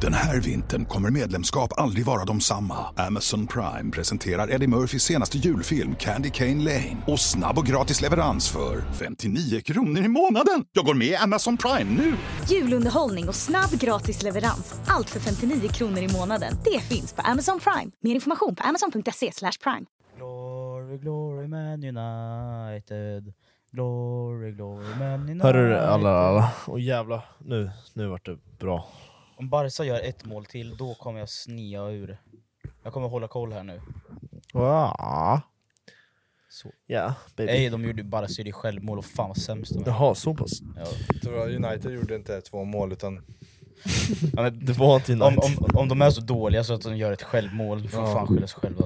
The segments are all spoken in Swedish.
Den här vintern kommer medlemskap aldrig vara de samma. Amazon Prime presenterar Eddie Murphys senaste julfilm Candy Cane Lane. Och snabb och gratis leverans för 59 kronor i månaden. Jag går med i Amazon Prime nu! Julunderhållning och snabb gratis leverans. Allt för 59 kronor i månaden. Det finns på Amazon Prime. Mer information på amazon.se slash prime. Glory, glory man united. Glory, glory man united. Hörru alla, alla. Och jävla nu, nu vart det bra. Om Barca gör ett mål till, då kommer jag snia ur. Jag kommer hålla koll här nu. Ja, Så. Ja, baby. Ej, de gjorde Barca gjorde självmål och fan vad sämst de är. Jaha, så pass. Ja. Tror jag United gjorde inte två mål utan... Ja, men Det var inte om, United. om, om de är så dåliga så att de gör ett självmål, då får de fan skylla sig själva.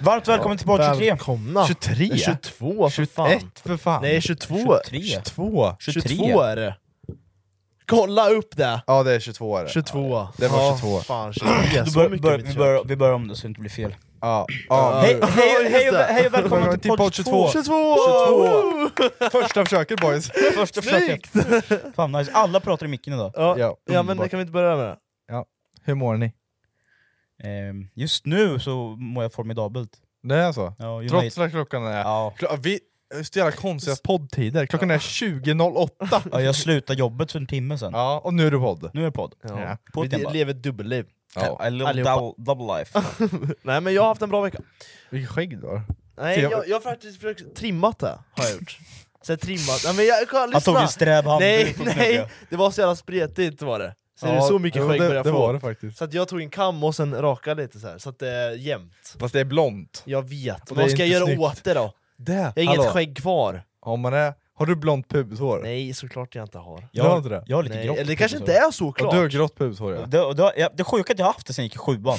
Varmt välkommen tillbaka till 23! Välkomna! 23? Nej, 22 för fan. för fan! Nej 22. 23. 22. 23. 22 är det. Kolla upp det! Ja det är 22 är det. 22. det var Ja, 22. Fan 23, Då så bör, mycket bör, mitt vi, kök. bör, vi börjar om det så det inte blir fel. Ja. Ja. Hej, Ja, hej, just hej, och- det. hej och välkommen Välkommen till till podd podd 22! 22! Första försöket boys! Första försöket! Fan nice, alla pratar i micken idag. Ja, Ja, ja men underbart. kan vi inte börja med det? Hur mår ni? Ehm, Just nu så mår jag formidabelt. Det är så? Ja, United- Trots att klockan är... Ja. Klo- Vi... Så jävla konstiga poddtider, klockan är 20.08! Ja, jag slutade jobbet för en timme sen. Ja, och nu är det podd. Nu är det podd. Ja. På Vi den bara. lever ett dubbelliv. I live Allihopa. double, double life. Nej men jag har haft en bra vecka. Vilket skägg du har. Nej, Ser jag, jag- jag har faktiskt försökt trimmat det, har jag gjort. Så jag trimmat, nej men jag, kolla, Han lyssna! tog en sträv nej, handduk och nej, det var så jävla spretigt var det. Så det är så mycket jo, skägg det, började det jag var få. det faktiskt. Så att jag tog en kam och sen rakade lite så här, så att det är jämnt. Fast det är blont. Jag vet, Och det är vad ska jag inte göra snyggt. åt det då? Det! Jag har inget Hallå. skägg kvar. Har, man det, har du blont pubeshår? Nej, såklart jag inte har. Jag, Du har inte det? jag har lite Nej. grått. Eller det kanske så. inte är så Och du har klart. grått pubeshår ja. Det, och det, ja, det sjuka är att jag har haft det sen jag gick i sjuan.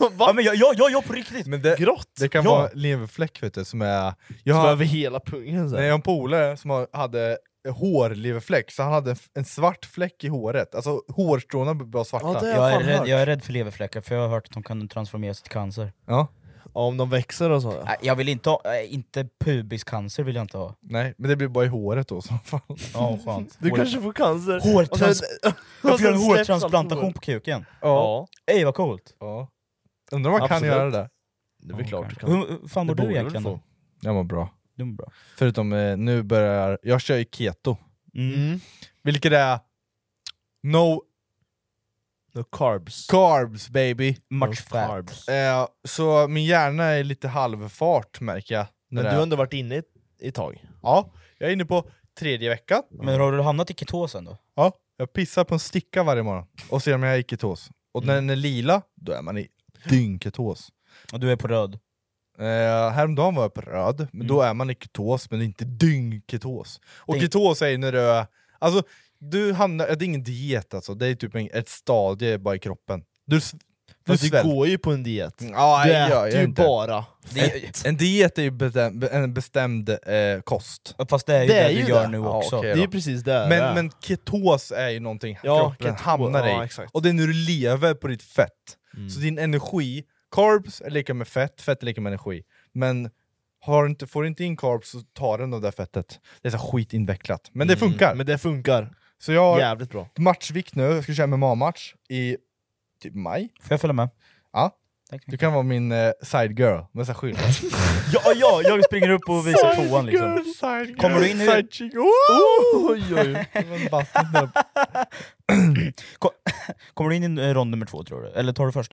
ja, Va? men jag, jag, jag, jag på riktigt! Men det, Grått? det kan Ja. vara leverfläck vet du, som är... Jag Som har, över hela pungen så nej, här. jag har en polare som har, hade hårleverfläck, så han hade en, f- en svart fläck i håret. Alltså hårstråna var svarta. Ja, det har Jag jag är, fan rädd, hört. jag är rädd för leverfläckar, för jag har hört att de kan transformeras till cancer. Ja, Ja, Om de växer och så. ja. Nej, jag vill inte ha, äh, inte pubiscancer vill jag inte ha. nej, men det blir bara i håret då i så fall. Ja, skönt. Du Hår- kanske får cancer. Och Hårtrans... sen- Jag får göra en och sen släpps hårtransplantation allt på hår. kuken. Ja, Ej vad coolt! Ja. Undrar om man Absolut. kan göra det? det är väl klart du kan. Hur hur fan mår Det du borde egentligen väl då? Jag mår bra. Du mår bra. Förutom eh, nu börjar... Jag kör ju keto. Mm. Mm. Vilket är... No No carbs. carbs baby! No Much fat. carbs. Eh, så min hjärna är lite halvfart märker jag. Men Det du har där. ändå varit inne i ett tag. Ja, jag är inne på tredje veckan. Men har du hamnat i ketosen då? Ja, jag pissar på en sticka varje morgon och ser om jag är i ketos. Och när den är lila, då är man i dyngketos. Och du är på röd? Eh, häromdagen var jag på röd, men då är man i ketos, men det är inte dyngketos. Och Dyng. ketos Mm. är ju när du är... Alltså, du hamnar, det är ingen diet alltså, det är typ en, ett stadie bara i kroppen. Du, s- du Fast du svälter. går ju på en diet. Ja, Du nej, äter jag gör ju inte. bara fett. En diet är ju bestäm, en bestämd eh, kost. Fast det är ju det, Det är du ju gör det. nu Ja, också. okej. Det är ju precis det det är. Men, men ketos är ju någonting Ja, kroppen keto- hamnar i. ja, exakt. Och det är när du lever på ditt fett. Mm. Så din energi, carbs är lika med fett, fett är lika med energi. Men har du inte, får du inte in carbs så tar den det där fettet. Det är så skitinvecklat. Men det Mm, funkar. Men det funkar. Så jag har Jävligt bra. matchvikt nu, jag ska köra MMA-match i typ maj. Får jag följa med? Ja. Tack. Du kan vara min eh, side girl med så här liksom. skyltar. Ja, ja, jag springer upp och visar tvåan liksom. side girl, Kommer du in i- side chick. Oh! Oj, oj, oj. Kommer du in i eh, rond nummer två tror du? Eller tar du först?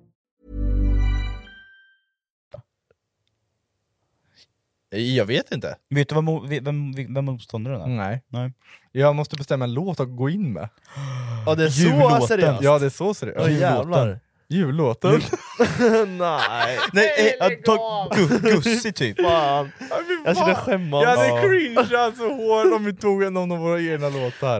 Jag vet inte. Vet du vad mo- vem, vem, vem motståndaren är? Mm. Nej. Nej. Jag måste bestämma en låt att gå in med. Ja det är så Jullåten. seriöst? Ja, det är så ser det Åh, jävlar. Jullåten. Nej, Nej, eh, ta- gu- Gussi typ. fan. Jag skulle Jag skämmas. hade cringeat så hårt om vi tog en av våra egna låtar.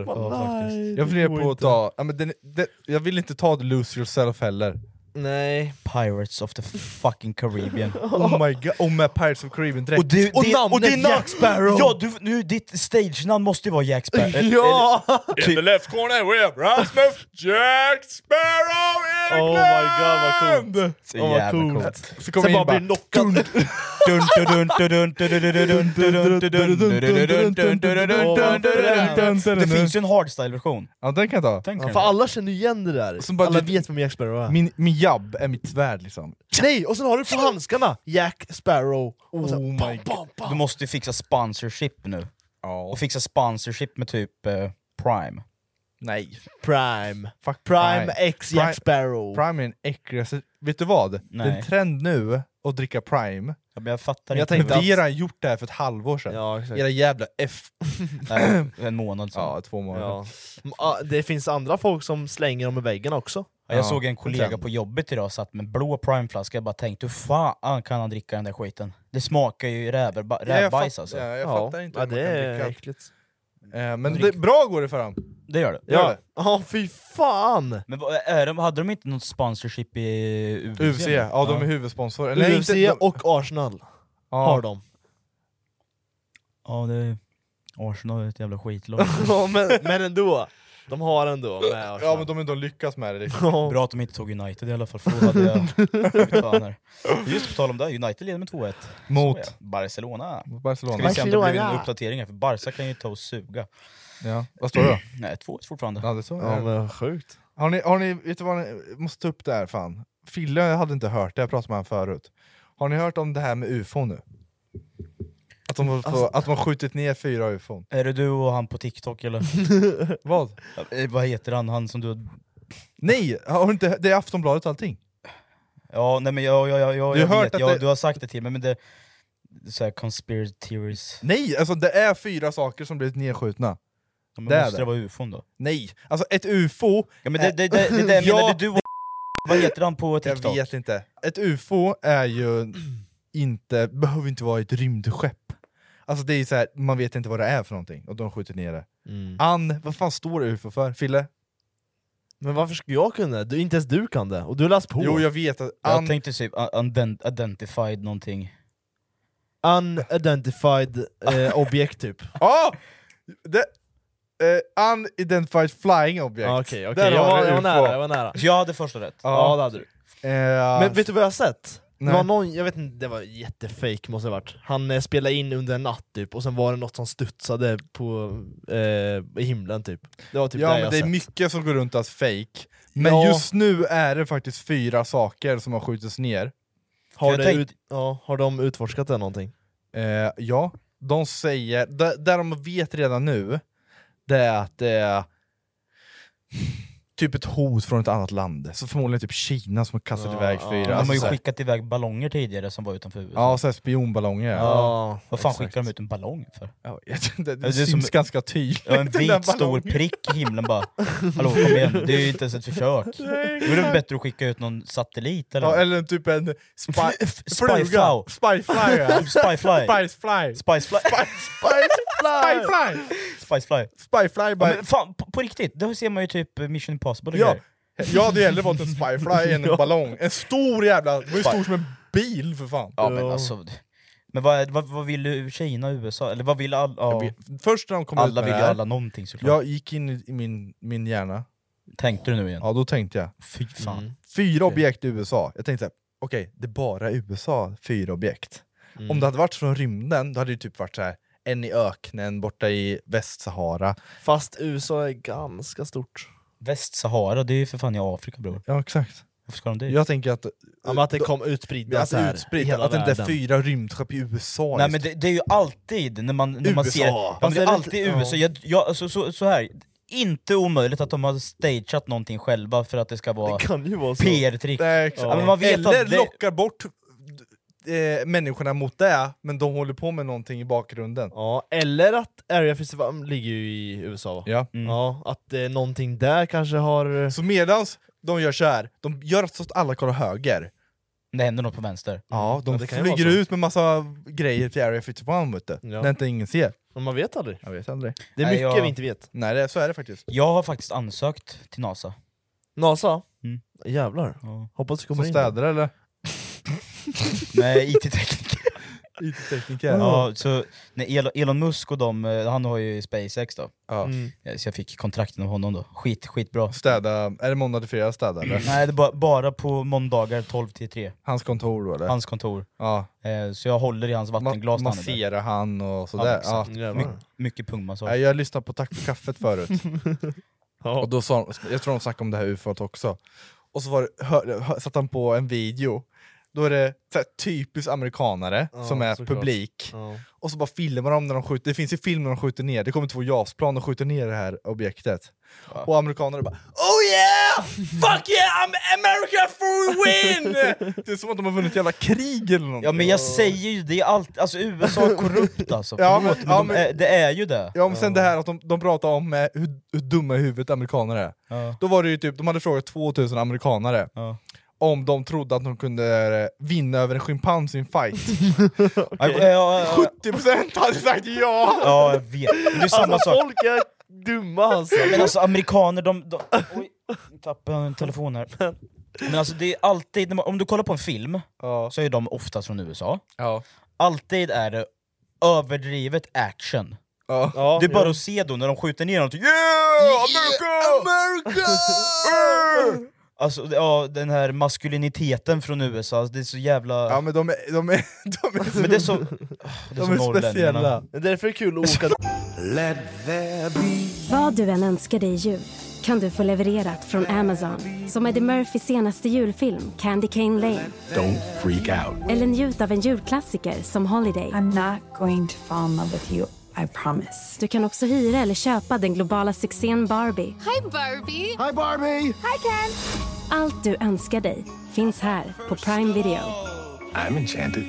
Nej, Jag funderar på att ta... ta, ja, men den, den, jag vill inte ta Lose Yourself heller. Nej. Pirates of the fucking Caribbean. Oh my god, och med Pirates of Caribbean direkt. Och, det, det, namnet och det är na- Jack Sparrow! Ja, du, nu, ditt stage-namn måste ju vara Jack Sparrow. Ja! In the left corner we have Rasmus Jack Sparrow Oh my god vad coolt! Så Åh, Oh, vad jävla coolt. coolt. Så kommer Sen bara in bara... blir knockad. Dun, dun, dun, dun, dun, dun, dun, dun, dun, dun, dun, dun, dun, dun, dun, dun, dun, dun, dun, dun. Det finns ju en hardstyle-version. Ja den kan jag ta. Den Ja, kan för jag. alla känner ju igen det där, Som bara- alla vet vem Jack Sparrow är. Min, min jabb är mitt svärd liksom. Nej, och sen har du på handskarna Jack Sparrow. Och så, Oh my bam, God. bam, bam. Du måste ju fixa sponsorship nu. Ja. Och fixa sponsorship med typ eh, Prime. Nej. Prime. Fuck Prime Prime. X Prime- Jack Sparrow. Prime är den äckligaste, vet du vad? Nej. Det är en trend nu att dricka Prime, Ja, men jag fattar Men jag inte. men vi tänkte har att- redan gjort det här för ett halvår sedan. Ja, exakt. Era jävla F... Nej, En månad sen. Ja, två månader. Ja. Mm, ah, Det finns andra folk som slänger dem i väggen också. Ja, Jag såg en kollega sen. på jobbet idag satt med en blå primeflaska, jag bara tänkte hur fan kan han dricka den där skiten? Det smakar ju räver, ba- Ja, jag rävbajs fatt- alltså. ja, jag fattar inte ja, hur det man är kan dricka. äckligt. Eh, men det, bra går det för dem. Det gör det. Gör Ja, det. ja fy fan! Men vad- är de, hade de inte något sponsorship i UFC? UFC, ja de är huvudsponsor. Eller UFC inte, de, och Arsenal ja, har de. Ja, det är... Arsenal är ett jävla skitlag. Ja, men, men ändå, de har ändå med Arsenal. Ja men de har ändå lyckats med det. Liksom. Ja. Bra att de inte tog United i alla fall, för då hade jag... Fan här. Just på tal om det, United leder med 2-1. Mot? Så ja, Barcelona. Ska Barcelona. vi se om det blir en Barcelona. uppdatering här, för Barca kan ju ta och suga. Ja. Vad står det då? Nej, 2-1 fortfarande. Ja, det står, Ja, ja, men sjukt. Har ni, har ni, vet du vad ni, måste ta upp det här fan. Fille hade inte hört det, jag pratade med honom förut. Har ni hört om det här med ufo nu? Att de, har- Alltså- att de har skjutit ner fyra ufon. Är det du och han på TikTok eller? Vad? Eh, Vad heter han, han som du... Nej! Har du inte, det är Aftonbladet och allting. Ja, nej men jag, jag, jag, jag, Du jag har hört vet, att jag, det- du har sagt det till mig, men det... det är Så här conspiracy theories. Nej! Alltså det är fyra saker som blivit nedskjutna. Ja, men Det är måste det. det vara ufon då? Nej! Alltså ett ufo, Ja men det, det, det, det, det jag Ja. menar, det är du och... Vad heter han på jag TikTok? vet inte. Ett ufo är ju inte, behöver inte vara ett rymdskepp. Alltså det är så här, man vet inte vad det är för någonting, och de skjuter ner det. Mm. Ann, vad fan står ufo för? Fille? Men varför ska jag kunna det? Du, inte ens du kan det, och du har läst på. Jo jag vet att Jag Ann tänkte typ un- un- identified någonting. Unidentified eh, objekt typ. Ja! Ah! Det, eh, unidentified flying object. Ja, Ah, Okej, okej. Där jag, har var, du jag var UFO. nära, jag var nära. Så jag hade första rätt. Ja, det hade du. Eh, Men vet du vad jag har sett? Nej. Det var någon, jag vet inte, det var jättefake måste det ha varit. Han eh, spelade in under en natt typ, och sen var det något som studsade på eh, i himlen typ. Det var typ ja, det men jag det är sett. mycket som går runt att fake. Men Ja. just nu är det faktiskt fyra saker som har skjutits ner. Har, Jag det tänkte- ut, ja, har de utforskat det någonting? Eh, ja, de säger, där, där de vet redan nu, det är att det är typ ett hot från ett annat land. Så förmodligen typ Kina som har kastat Ja, iväg ja. fyra. De har alltså ju så här- skickat iväg ballonger tidigare som var utanför USA. Ja, så här spionballonger. Ja, Vad fan exakt. skickar de ut en ballong för? Ja, jag vet inte, det, är som- syns ganska tydligt. Ja, en den där vit stor ballongen. prick i himlen bara. Hallå kom igen, det är ju inte ens ett försök. Då är det bättre att skicka ut någon satellit eller? Ja, eller typ en spy, Spyflow. Spyfly ja. Spyfly. Spyfly. Spicefly. Spyfly. Spicefly. Spyfly. Ja, by- men fan, på, på riktigt, då ser man ju typ Mission Impossible och Ja, grejer. jag hade hellre valt en spyfly än en ballong. En stor jävla, det var ju stor som en bil för fan. Ja men alltså, Men vad, vad, vad vill Kina, USA? Eller vad vill all, Jag ja, vet- Först när de kom ut alla? med vill det ju här, alla någonting såklart. Jag gick in i min, min hjärna, Tänkte du nu igen? ja då tänkte jag, Fy fan. Mm. fyra objekt i USA. Jag tänkte såhär, okej, det är bara USA, fyra objekt. Mm. Om det hade varit från rymden, då hade det typ varit så här. en i öknen borta i Västsahara. Fast USA är ganska stort. Västsahara, det är ju för fan i Afrika bror. Ja exakt. Varför ska de dit? Jag tänker att... Ja, men att det kom utspridda att så det här, är i utspritt, hela att det inte är världen. fyra rymdskepp i USA. Nej liksom. men det, det är ju alltid när man, när man USA. ser... Ja, men Fast det är är det alltid inte- USA. Jag, jag, alltså, så, så här. Inte omöjligt att de har stageat någonting själva för att det ska vara Det kan ju vara så. PR-trick. Nej, exakt. Ja, men man vet Eller att det- lockar bort eh, människorna mot det, men de håller på med någonting i bakgrunden. Ja, eller att Area 51 ligger ju i USA va? Ja. Mm. Ja, Mm. att eh, någonting där kanske har... Så medans de gör så här, de gör så att alla kollar höger. Det händer något på vänster. Ja, de det kan ju flyger vara så. ut med massa grejer till Area 51 vet du. Ja. När inte ingen ser. Men man vet aldrig. Jag vet aldrig. Det är Nej, mycket jag- vi inte vet. Nej, det, så är det faktiskt. Jag har faktiskt ansökt till NASA. NASA? Mm. Jävlar. Hoppas du Som kommer in. städare eller? Nej, IT-tekniker. IT-tekniker? ja, så, nej, Elon- Elon Musk och de, eh, han har ju SpaceX då. Ja. Mm. Ja, Så jag fick kontrakten av honom då. Skit, skitbra. Städa, är det måndag till fredag städa eller? Nej, det är bara, bara på måndagar 12 till 3. Hans kontor då eller? Hans kontor. ja. Eh, så jag håller i hans Ma- vattenglas när han är där. massera han och Ja, sådär. Ja, exakt. My, Jävlar. mycket pungmassage. Nej, Jag lyssnade på Tack för kaffet förut. Ja. Och då sa, jag tror de snackade om det här ufot också. Och så var det, hör, hör, satte han på en video, då är det så här, typiskt amerikanare Ja, som är såklart. publik, Ja. och så bara filmar de när de skjuter, det finns ju film när de skjuter ner, det kommer två JAS-plan och skjuter ner det här objektet. Och amerikanare bara Oh yeah! Fuck yeah! I'm America for win! det är som att de har vunnit ett jävla krig eller någonting. Ja men jag säger ju det, allt, alltså USA är korrupt alltså, Ja, förlåt, men- men, ja, de men- är, det är ju det. Ja, men sen det här att de, de pratar om eh, hur, hur dumma i huvudet amerikaner är. Ja. Då var det ju typ, de hade frågat 2000 amerikanare Ja. om de trodde att de kunde eh, vinna över en schimpans i en fight. Ja, ja, ja, 70% hade sagt ja! ja, jag vet. Men det är samma Alltså, sak. folk är dumma alltså. Men alltså amerikaner, de... de oj, nu tappade jag en telefon här. Men alltså det är alltid, när man- om du kollar på en film, Ja. så är de oftast från USA. Ja. Alltid är det överdrivet action. ja. Ja, Det är bara ja. att se då när de skjuter ner någonting, yeah! America! America! Alltså ja, den här maskuliniteten från USA, alltså, det är så jävla... ja men de är, de är, de är, Men det är så... Det är, de så är norrlänningarna. speciella. Det är därför det är kul att åka Vad du än önskar dig i jul kan du få levererat från Amazon. Som Eddie Murphys senaste julfilm Candy Cane Lane. Don't freak out. Eller njut av en julklassiker som Holiday. I'm not going to fall in love with you. I promise. Du kan också hyra eller köpa den globala succén Barbie. Hi, Barbie. Hi Barbie! Allt du önskar dig finns här på Prime Video. I'm enchanted.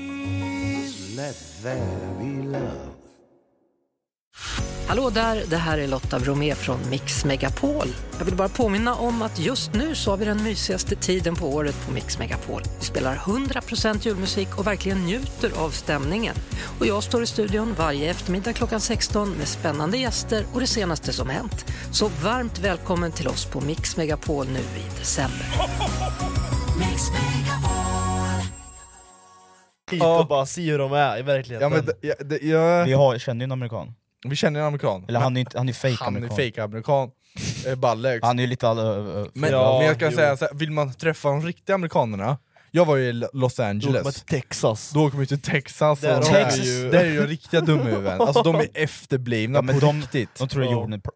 Hallå där, det här är Lotta Bromé från Mix Megapol. Jag vill bara påminna om att just nu så har vi den mysigaste tiden på året på Mix Megapol. Vi spelar 100% julmusik och verkligen njuter av stämningen. Och jag står i studion varje eftermiddag klockan 16 med spännande gäster och det senaste som hänt. Så varmt välkommen till oss på Mix Megapol nu i december. hit och bara se hur de är i verkligheten. Ja, men, det- ja, det- jag- Vi har, känner ju en amerikan. vi känner en amerikan. Eller han är, inte- han är fake Han är amerikan. fake-amerikan. Eh, Balle Han är ju lite eh, all, ö- ö- Men, Ja, men jag kan jo. säga så här, vill man träffa de riktiga amerikanerna, jag var ju i L- Los Då åker man Angeles, till Texas. då åker man ju till Texas, Där och har där, är vi ju, ju- där är ju riktiga dumhuvuden, alltså de är efterblivna Ja, men på de- riktigt. De tror att Ja. jorden är pl-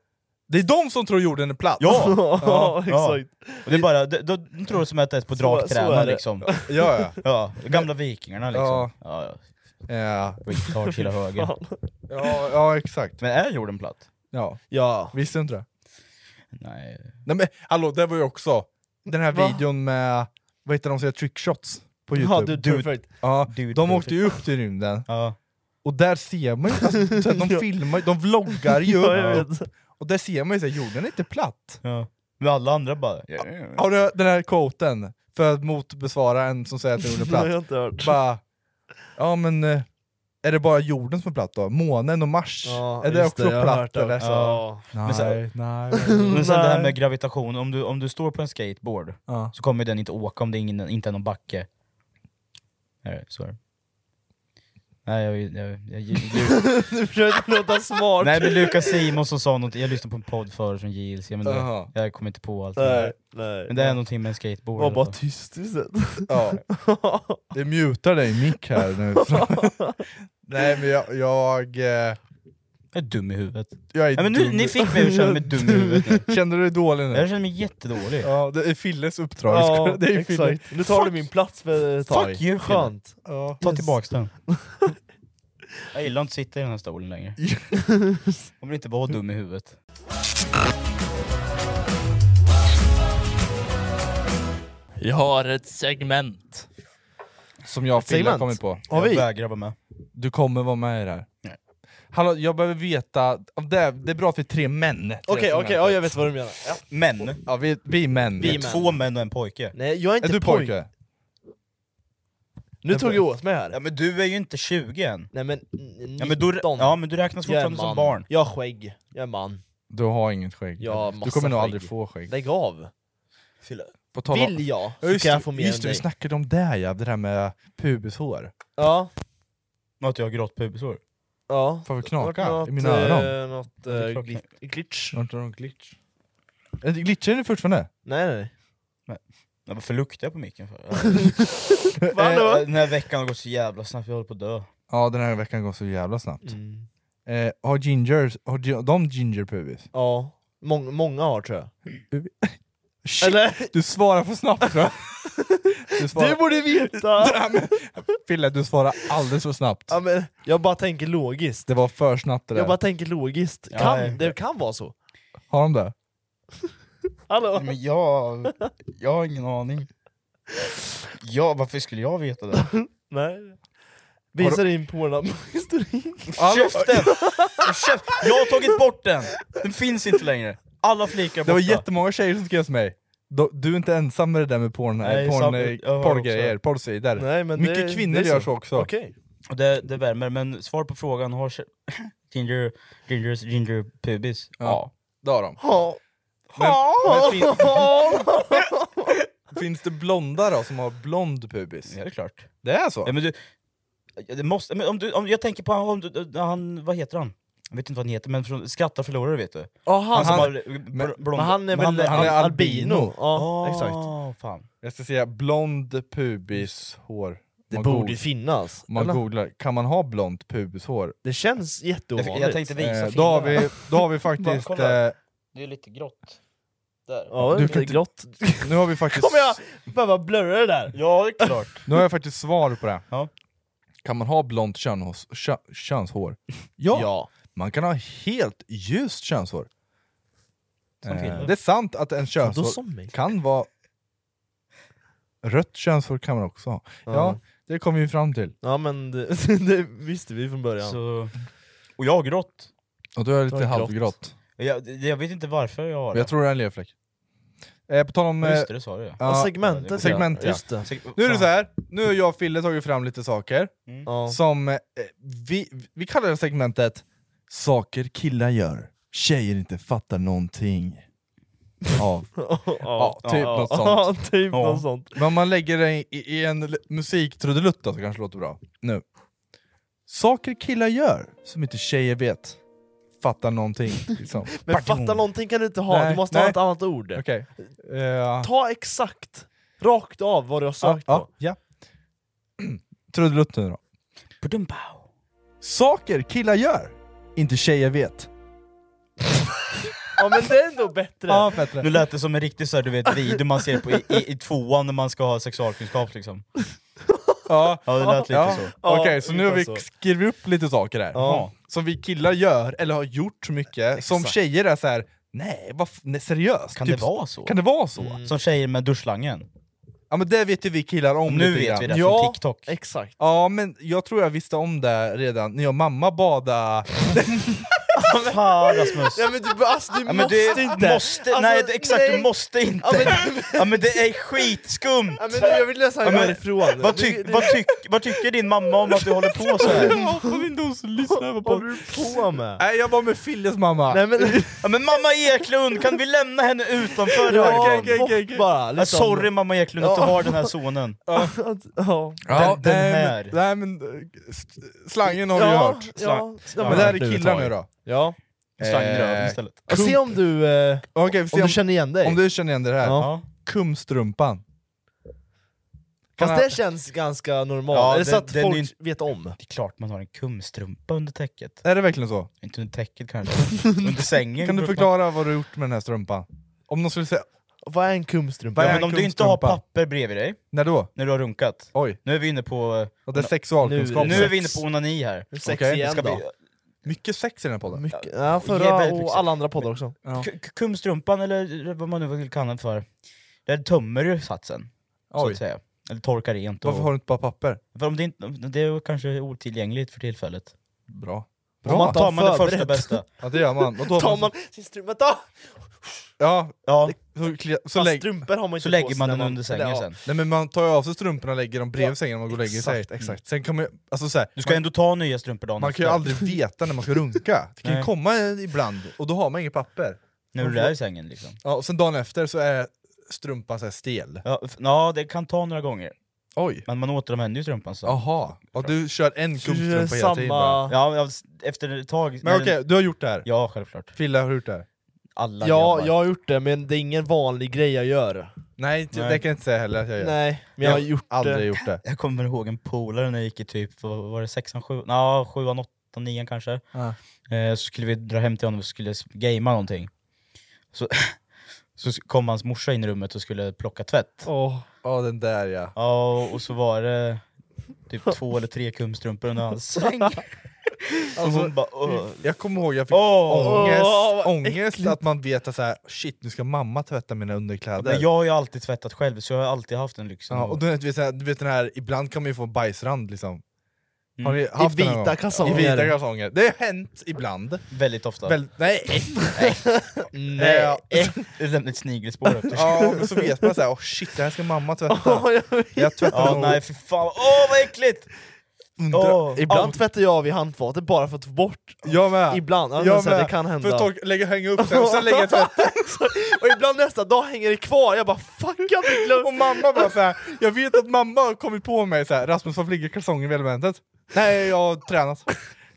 Det är de som tror jorden är platt! ja, ja. exakt. Och det är bara, de, de, de tror som att det är på Så- så är dragträna det. liksom. ja, ja. Ja, de gamla vikingarna Ja. liksom. Ja, ja. Ja, Retard, killa höger. ja, ja exakt. Men är jorden platt? Ja. Ja. Visste du inte det? Nej. Nej men hallå, det var ju också den här Va? videon med, vad heter de som gör trickshots på Ja, youtube? du, perfekt. ja, Dude de Perfect. åkte ju upp till rymden, Ja. och där ser man ju, alltså, så här, de filmar ju, de vloggar ju, Ja, jag vet. och där ser man ju att jorden är inte platt. ja. Men alla andra bara... Har du hört den här quoten? För att motbesvara en som säger att jorden är Det har jag platt. inte hört. Bara, ja men eh, är det bara jorden som är platt då? Månen och Mars? Ja, är det just också det, jag har hört platt det. eller? Så? Ja. Nej, Men så- nej. Men sen det här med gravitation, om du, om du står på en skateboard Ja. så kommer den inte åka om det ingen, inte är någon backe. Är det- Så är det. Nej jag... jag, jag, jag du försökte låta smart. Nej men Lukas Simonsson sa något, jag lyssnade på en podd förut från JLC, men Jaha. det, jag kommer inte på allt det Nej, där. nej. Men det är någonting med en skateboard. Var i bara alla fall. tyst istället. Ja. Det mutar dig mick här nu. Nej men jag... Jag, jag är dum i huvudet. Jag är Ja, men nu- dum. ni fick mig att känna mig dum i huvudet nu. Kände du dig dålig nu? Jag känner mig jättedålig. Ja, det är Filles uppdrag. Ja, det är Fille. exakt. Nu tar du min plats för ett tag. Fuck you Skönt. Ja. Ta tillbaks den. Jag gillar inte att sitta i den här stolen längre. Man vill inte vara dum i huvudet. Jag har ett segment. Som jag och Ett Fille har segment. kommit på. Har vi? Jag vägrar vara med. Du kommer vara med i det här. Nej. Hallå, jag behöver veta... Det är, det är bra att vi är tre män. till det Okej, okej, här segmentet. ja, jag vet vad du menar. Ja. Män? Ja, vi, vi är män. Vi är män. Två män och en pojke. Nej, jag är inte är du pojke? Nu tog jag åt mig här. Ja men du är ju inte 20 än. Nej men Ja men du, ja, men du räknas Jag är fortfarande som man. barn. Jag har skägg, jag är man. Du har inget skägg. Jag har massa du kommer nog skägg. aldrig få skägg. Lägg av. Fylla. På tal om- Vill jag Ja, så just kan det, jag få mer Just än det, dig. vi snackade om det ja, det där med pubishår. Ja. Att jag har grått pubishår? Ja. Får vi Vart knaka något, i mina eh, öron? något, eh, Ja, det är klart. glit- glitch. Vart det någon glitch? Eh, Glitchar du fortfarande? Nej nej. Nej. Ja, varför luktar jag på micken för? Hallå? Eh, Den här veckan har gått så jävla snabbt, jag håller på att dö. Ja, den här veckan går så jävla snabbt. Eh, har ginger, har gi- de ginger pubis? Ja. Mång, många har tror jag. Shit, Du svarar för snabbt tror jag. Du, svarar... Du borde veta! Fille, du svarar alldeles för snabbt. ja, men, jag bara tänker logiskt. Det var för snabbt det där. Jag bara tänker logiskt. Ja, kan, ja. Det kan vara så. Har de det? Hallå? Men jag, jag har ingen aning. Ja, varför skulle jag veta det? Nej. Visa Har du- din Pornhub-historik. Käften! Käft! Jag har tagit bort den! Den finns inte längre. Alla flikar är Det var borta. jättemånga tjejer som skrev till mig. "Du- Du är inte ensam med det där med porn, Nej, Nej, porn, sam- eh, jag hör porrgrejer, också. porrsidor. Mycket kvinnor gör så också. Och Det, det värmer, men svar på frågan, har tje- ginger, gingers, ginger pubis? Ja. Det har de. Ja. Men, men fin, fin, finns det blonda då som har blond pubis? Ja, det är klart. Det är så? Ja, men du, ja, det måste, men om du, om, jag tänker på han, om du, han, vad heter han? Jag vet inte vad han heter, men från Skratta förlorare vet du. Ja, han- som han- har, men, men han är väl al- albino? Ja, exakt. Fan. Jag ska säga blond pubishår. Det Man borde goog- ju finnas. Om man eller? googlar, kan man ha blont pubishår? Det känns jätteovanligt. Jag- jag tänkte visa Eh, då har vi- då har vi faktiskt, Bara kolla. eh, Det är lite grått. Där. Ja, det är Du lite kan inte- grått. Nu har vi faktiskt, Kommer jag behöva blurra det där? Ja, det är klart. nu har jag faktiskt svar på det. Kan man ha blont könhås, kö, könshår? Ja. Man kan ha helt ljust könshår. Eh, Som killar. det är sant att en som könshår mig. kan vara... Rött könshår kan man också ha. Ja, Ja. det kom vi ju fram till. Ja men det, det visste vi från början. Så, och jag har grått. Och du är Du lite har grått. halvgrått. Jag, det- jag vet inte varför jag har Men jag tror det är en lerfläck. Eh, på tal om... eh, Ja, just det, det sa du ju. ja, Ja, segmentet, ja. segment, ja. Just det. Nu är det så här. nu har jag och Fille tagit fram lite saker Ja. som eh, vi, vi kallar det segmentet Saker killar gör, tjejer inte fattar någonting av. Ja, Ja, typ något Ja, sånt. typ något sånt. Men om man lägger det i, i en l- musiktrudelutt då, så kanske det låter bra. Nu. Saker killar gör som inte tjejer vet, fattar någonting. Liksom. Men fatta någonting kan du inte ha, Nej, du måste nej. ha ett annat ord. Okej. Eh, Ta exakt, rakt av vad du har Ja, sökt ja, på. ja. Trudelutt nu då. Saker killar gör, inte tjejer vet. Ja men det är ändå bättre. Ja, bättre. Nu lät det som en riktig så här, du vet, video man ser på i, i, i tvåan när man ska ha sexualkunskap liksom. Ja, Ja, det lät lite ja. så. Okej, Ja, så nu har vi ungefär så. skrivit upp lite saker här. Ja. Som vi killar gör, eller har gjort mycket, som Exakt. tjejer är så här. nej, vad f- nej seriöst? Typ Kan det vara så? Kan det vara så? Som tjejer med duschslangen. Ja men det vet ju vi killar om Nu lite vet grann. vi det ja. från TikTok. Exakt. Ja, men jag tror jag visste om det redan när jag och mamma badade... fan Rasmus! Ja, men du, alltså, du Ja, men måste du inte! måste- alltså, nej, exakt, du måste inte. Ja, men, Ja men det är skitskumt! ja, men, du, jag vill läsa Ja, men- härifrån! Vad, tyck- vad, tyck- vad tycker din mamma om att du håller på så här? Hoppas inte hon lyssnar på Vad håller du på med? Nej, jag var med Filles mamma. Nej, men, Ja, men mamma Eklund, kan vi lämna henne utanför? Ja, radion? okej, okej, okej, okej. Bara, ja, liksom. sorry mamma Eklund att du Ja. har den här sonen. Eh. ja. Den, den nej, men- här. Nej men, eh, s- slangen har du ju Ja, hört. ja. Slang. Ja, men det här är du killar tar. nu då. Ja. Eh, Ja, se om du, eh, Okej, vi om ser du känner igen dig. Om du känner igen det här. Ja. Kumstrumpan. Kan Fast han- det känns ganska normalt, Ja, eller så den- att den är folk inte- vet om. Det är klart man har en kumstrumpa under täcket. Är det verkligen så? Inte under täcket kanske, under sängen. Kan brukar du man- förklara vad du har gjort med den här strumpan? Om de skulle säga... Vad är en kumstrumpa? Vad är Ja, en men om du inte har kumstrumpa? papper bredvid dig, När då? när du har runkat. Oj. Nu är vi inne på... eh, Och det är sexualkunskap. Nu är vi inne på onani här. Sex Okej, igen Ska då? vi, Mycket sex i den här podden. Mycket, ja, Ge förra väldigt mycket och alla andra poddar också. Ja. K- k- kumstrumpan, eller vad man nu vill kalla den för, där tömmer du satsen. Så Oj. att säga. Eller torkar rent. Och, Varför har du inte bara papper? för om det, inte, det är kanske otillgängligt för tillfället. Bra. Om man Bra. tar- Tar man det första förberett. bästa. Ja det gör man. Och då Tar man sin strumpa, ta! Ja, Ja, så, klia- så Fast lägg... strumpor har man ju så inte på lägger sig man när den under eller, sängen ja. sen. Nej men man tar ju av sig strumporna och lägger dem bredvid sängen när man går och lägger sig. Exakt, exakt. Sen kommer, alltså så här, Du ska man, ändå ta nya strumpor dagen man kan ju efter, aldrig veta när man ska runka. Det kan ju Nej. komma ibland, och då har man inget papper. när du är i sängen liksom. Ja, och sen dagen efter så är strumpan så här stel. Ja, f- ja, det kan ta några gånger. Oj. Men man återanvänder ju strumpan sen. Jaha. Ja, du kör en Så du kumstrumpa gör hela tiden bara. samma... Ja, men av- efter ett tag... Men okej, du har gjort det här? Ja, självklart. Fille har du gjort det här? Alla Ja, grabbar. jag har gjort det, men det är ingen vanlig grej jag gör. Nej, det Nej. det kan jag inte säga heller att jag gör. Nej, men Jag jag har har gjort Aldrig det. gjort det. Jag kommer ihåg en polare när jag gick i typ, vad var det sexan, sjuan, ja sjuan, åttan, nian kanske. Ja. Eh, så skulle vi dra hem till honom och skulle s- gamea någonting. Så, så s- kom hans morsa in i rummet och skulle plocka tvätt. Åh, Ja, den där ja. Ja, och så var det typ två eller tre kumstrumpor under hans säng. Och hon bara "Åh." Jag kommer ihåg, jag fick Åh. ångest, Åh, vad ångest att man vet att så här, shit nu ska mamma tvätta mina underkläder. Men jag har ju alltid tvättat själv så jag har alltid haft den lyxen. Ja, att- och du vet, du vet, så här- du vet den här, ibland kan man ju få bajsrand liksom. Mm. Har ni haft den någon vita gång? kalsonger. I vita kalsonger. Det har hänt ibland. Väldigt ofta. Eh. Väl, nej! nej! Ja. det lämnar ett snigelspår efter sig. ja, men så vet man såhär, oh shit det här ska mamma tvätta. Åh, jag vet. Jag tvättar Ja, nog nej för fan, åh vad äckligt! undra- åh. Ibland tvättar jag av i handfatet bara för att få bort... Jag med! Ibland, ja, men jag så här, det kan hända. För att torka- lägga, hänga upp sen, och sen lägga tvätt. och ibland nästa dag hänger det kvar, jag bara fuck jag hade glömt! Och mamma bara såhär, jag vet att mamma har kommit på mig såhär, Rasmus varför ligger kalsonger vid elementet? Nej jag har tränat.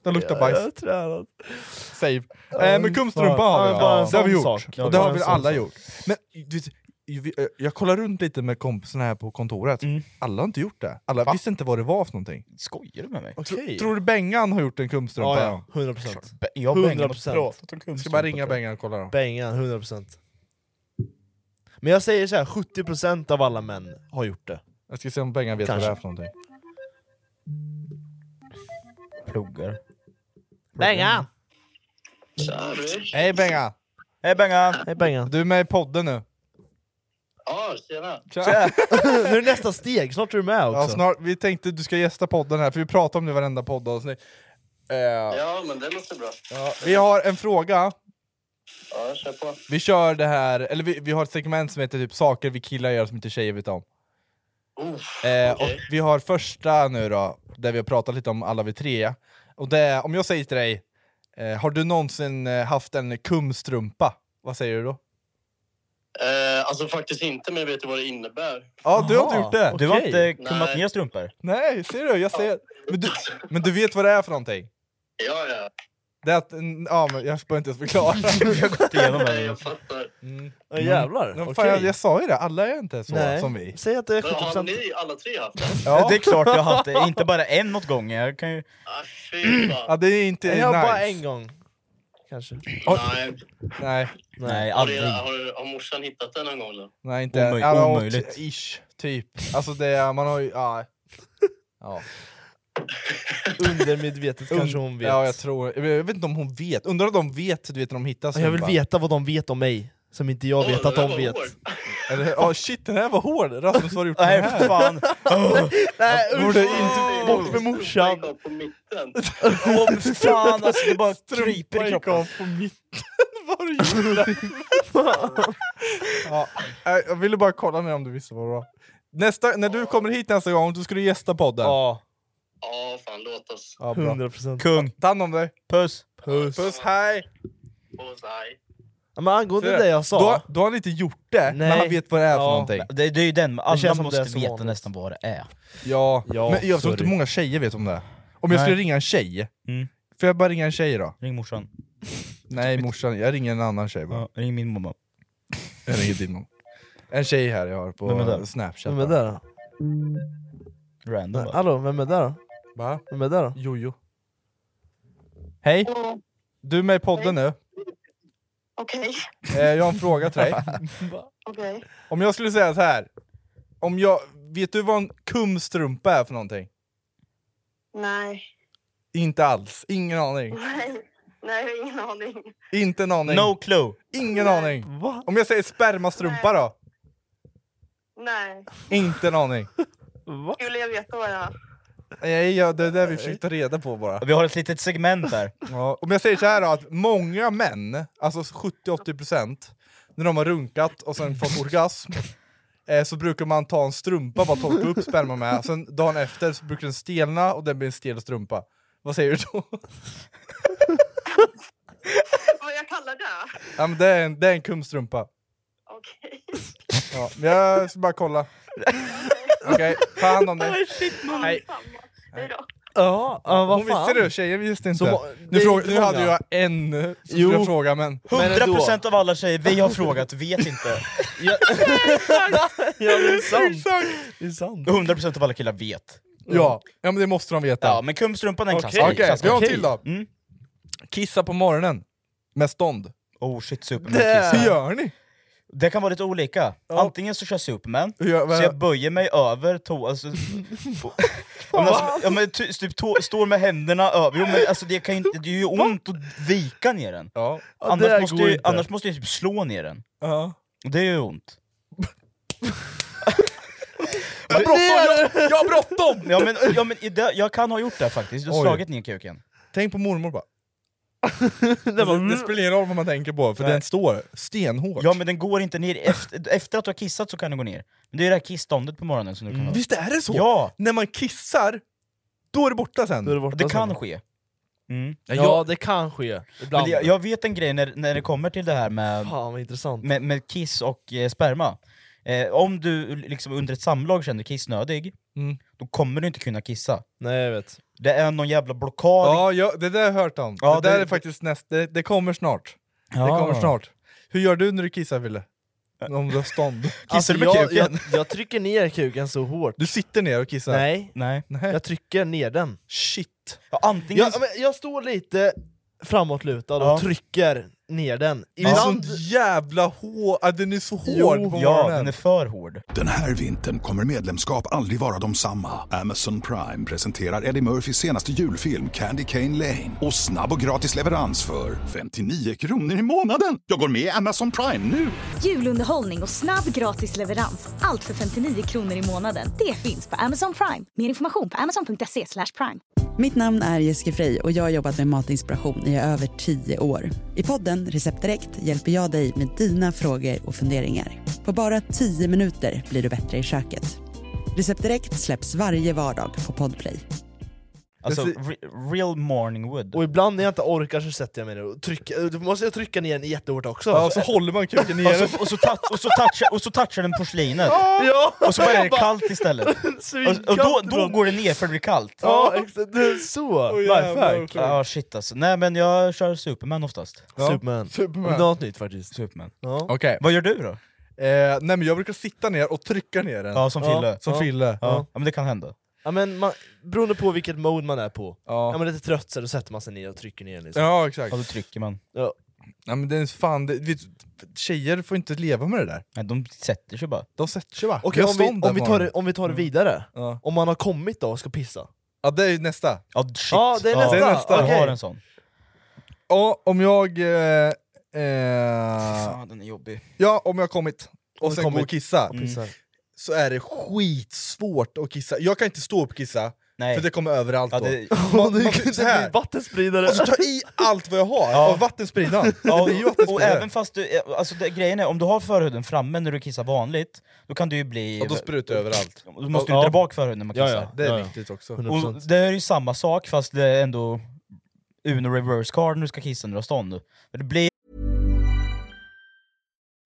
De luktar bajs. Jag har tränat. Save. Ja, Eh, men fan. kumstrumpa har vi, Ja, bara en ja. det har vi sån gjort. sak. Ja, och det bara har en väl sån alla sak. gjort. Men du vet, vi- eh, jag kollar runt lite med kompisarna här på kontoret, Mm. alla har inte gjort det. Alla Va? visste inte vad det var för någonting. Skojar du med mig? Okej. Tror du Bengan har gjort en kumstrumpa? Ja, ja, 100%. Be- Jag och Bengan 100%. har pratat om Ska bara kumstrumpor. ringa Bengan och kolla då. Bengan, 100%. Men jag säger så här, 70% av alla män har gjort det. Jag ska se om Bengan vet Kanske. vad det är för någonting. Pluggar. Bengan! Hej Bengan! Hej Bengan! Hej Bengan. Du är med i podden nu. Ja, tjena. Tja. nu är det nästa steg, snart är du med också. Ja, snart, vi tänkte du ska gästa podden här, för vi pratar om det i varenda poddavsnitt. Eh, Ja, men det låter bra. ja, vi har en fråga. Ja, kör på. Vi kör det här, eller vi, vi har ett segment som heter typ saker vi killar gör som inte tjejer vet om. eh, och vi har första nu då, där vi har pratat lite om alla vi tre. Och det är, om jag säger till dig, eh, har du någonsin eh, haft en kumstrumpa? Vad säger du då? Eh, alltså faktiskt inte, men jag vet ju vad det innebär. Ja, du har inte gjort det? Du har Okej. inte kummat Nej. ner strumpor? Nej, ser du? Jag ser. Men, du, men du vet vad det är för någonting? Ja, ja. Det är att, mm, ja, men jag behöver inte ens förklara. Vi har gått igenom Nej, det. jag fattar. Mm. Ja, jävlar. Men fan, okej. jag, jag sa ju det, alla är inte så Nej. som vi. Säg att det är Men har 70%. ni alla tre haft det? Ja. Det är klart jag har haft det, inte bara en åt gången. Jag kan ju... Ah, fy Ja, fan. det är inte Jag har nice. bara en gång. Kanske. Nej. Nej, Nej, Har, det, aldrig. har, du- har morsan hittat den någon gång då? nej inte Omöj- ja, och- omöjligt. Ish, typ. Alltså det, är- man har ju... Ja. Ja. Undermedvetet kanske hon vet. Ja, jag tror Jag vet inte om hon vet. Undrar om de vet, du vet när de hittar Ja, Jag vill snubbar. veta vad de vet om mig, som inte jag vet Åh, att det där de var vet. hårt. Eller, ja, shit, den här var hård! Rasmus, vad har du gjort med Nej, den här? för fan. Nej, usch. Borde inte bort med morsan. Åh fan alltså, det bara kryper i kroppen. på mitten. Vad har du gjort där? ja, nej, jag ville bara kolla med om du visste vad det var. Nästa, när du kommer hit nästa gång, då ska du gästa podden. Ja. Ja, fan låt oss. Ja, bra. 100%. Kung. Ta hand om dig. Puss. Puss. Puss, hej. Puss, hej. Ja, men angående Ser du? det jag sa. Då- då har han inte gjort det, men han vet vad det är för Ja. någonting. Det, det är ju den, känns alla som måste det är som veta vanligt. nästan vad det är. Ja, Ja, men jag tror inte sorry. många tjejer vet om det. Om jag Nej. skulle ringa en tjej, Mm. får jag bara ringa en tjej då? Ring morsan. Nej morsan, jag ringer en annan tjej bara. ring min mamma. Jag ringer din mamma. En tjej här jag har Vem är på det? snapchat. Vem är det då? Random Nej, Hallå, vem är det då? Va? Vem är det då? Jojo. Hej! Du är med i podden nu. Okej. Eh, Jag har en fråga till dig. Okej. Om jag skulle säga så här. Om jag, vet du vad en kumstrumpa är för någonting? Nej. Inte alls. Ingen aning. Nej. Nej, jag har ingen aning. Inte en aning. No clue. Ingen aning. Om jag säger spermastrumpa då? Nej. Inte en aning. Skulle jag veta vad det är? Nej, ja, det är det vi försökte ta reda på bara. Vi har ett litet segment där. Ja, om jag säger så här då, att många män, alltså 70-80% när de har runkat och sen fått orgasm eh, så brukar man ta en strumpa och bara torka upp sperma med, sen dagen efter så brukar den stelna och den blir en stel strumpa. Vad säger du då? Vad jag kallar det? Ja, men det, är en, det är en kumstrumpa. Okej. Ja, men jag ska bara kolla. Okej, ta hand om dig. Hej. Hej då. Ja, ja, vad Hon fan. visste du, tjejer visste inte. Så må- det nu är fråga, inte nu hade många. jag en eh, som Jo. skulle fråga men... 100% av alla tjejer vi har frågat vet inte. Ja, det är sant. Det är sant. 100% av alla killar vet. Ja, ja men det måste de veta. Ja, men kumstrumpan är en Okej, klassiker. Mm. vi har en till då. Okej. Kissa på morgonen med stånd. Oh shit, Superman Det kissar. gör ni! Det kan vara lite olika. Antingen så kör Superman, vad- så jag böjer mig över toan... Alltså, på- Ja, men alltså, ja, men ty, typ tå, står med händerna över, jo, men alltså, det, kan ju, inte- det gör ju ont att vika ner den. Ja. Annars, det måste går jag, inte. annars måste jag typ slå ner den. Ja. Det gör ju ont. Jag har bråttom! Jag, jag har bråttom! Ja, men, ja, men, i det- jag kan ha gjort det faktiskt, jag har Oj. slagit ner kuken. Tänk på mormor bara. det, det spelar ingen roll vad man tänker på, för Nej. den står stenhårt. Ja men den går inte ner, efter, efter att du har kissat så kan den gå ner. Men det är det här kissståndet på morgonen som du kan ha. Visst är Mm. det så? Ja! När man kissar, då är det borta sen. Då är det borta Det alltså. kan sen. ske. Ja, Ja, jag- det kan ske. Ibland. Men jag, jag vet en grej när, när det kommer till det här med, Fan vad intressant. med, med kiss och eh, sperma. Eh, om du liksom under ett samlag känner dig kissnödig, Mm. då kommer du inte kunna kissa. Nej, jag vet. Det är någon jävla blockad. Ja, ja, det där har jag hört om. Ja, det där det- är faktiskt näst, det, det kommer snart. Det Ja. kommer snart. Hur gör du när du kissar Wille? Om du har stånd? Alltså, jag, jag, jag trycker ner kuken så hårt. Du sitter ner och kissar? Nej. Nej. Jag trycker ner den. Shit. Ja, antingen... Jag, men jag står lite framåtlutad och Ja. trycker ner den. Det är Ibland... sånt jävla hård... Ah, den är så hård på morgonen. för hård. Den här vintern kommer medlemskap aldrig vara de samma. Amazon Prime presenterar Eddie Murphys senaste julfilm Candy Cane Lane. Och snabb och gratis leverans för 59 kronor i månaden. Jag går med i Amazon Prime nu! Julunderhållning och snabb gratis leverans. Allt för 59 kronor i månaden. Det finns på Amazon Prime. Mer information på amazon.se slash prime. Mitt namn är Jessica Frey och jag har jobbat med matinspiration i över tio år. I podden Recept Direkt hjälper jag dig med dina frågor och funderingar. På bara tio minuter blir du bättre i köket. Recept Direkt släpps varje vardag på Podplay. Alltså, Det ser- re- real morning wood. Och ibland när jag inte orkar så sätter jag mig ner och trycker. Då måste jag trycka ner den jättehårt också. Ja, så håller man kuken nere. Och så, och, så touch, och, så touchar, och så touchar den porslinet. Ja. Och så börjar det kallt istället. Svinkallt Och, och då, då ibland. går det ner för det blir kallt. Ja, exakt. Det är så. Lifehack. Ja shit alltså. Nej men jag kör Superman oftast. Ja. Superman. Superman. Det är något nytt faktiskt. Superman. Ja. Okej. Vad gör du då? Eh, nej men jag brukar sitta ner och trycka ner den. Ja som Fille. Som Fille. Ja. ja men det kan hända. Ja, men man, beroende på vilket mode man är på. Ja. Är man lite trött så då sätter man sig ner och trycker ner. Liksom. Ja, exakt. Ja då trycker man. Ja. Nej men det är fan, det, vet, tjejer får inte leva med det där. Nej de sätter sig bara. De sätter sig bara. Okej, Jag om, vi, stånd där om, vi tar, morgonen. det- om vi tar det vidare. Ja. Äh. Om man har kommit då och ska pissa. Ja det är ju nästa. Ja shit. Ja, det är nästa. Det är nästa. Okej. Jag har en sån. Ja, om jag... Eh, eh, den är jobbig. ja, om jag har kommit. och sen gå och kissa, Och pissar. så är det skitsvårt att kissa. Jag kan inte stå upp och kissa, för det kommer överallt Ja, då. det- Man, man, så här. Vattenspridare! Och så ta i allt vad jag har Ja. av vattenspridan. Ja, det blir ju och, och vattenspridare. även fast du, alltså det, grejen är, om du har förhuden framme när du kissar vanligt, då kan du ju bli... Ja, då sprutar det överallt. Då måste Ja. du dra bak förhuden när man Ja, kissar. ja, det är Ja, ja. viktigt också. 100%. Och det är ju samma sak fast det är ändå Uno reverse card när du ska kissa när du har stånd. Men Det blir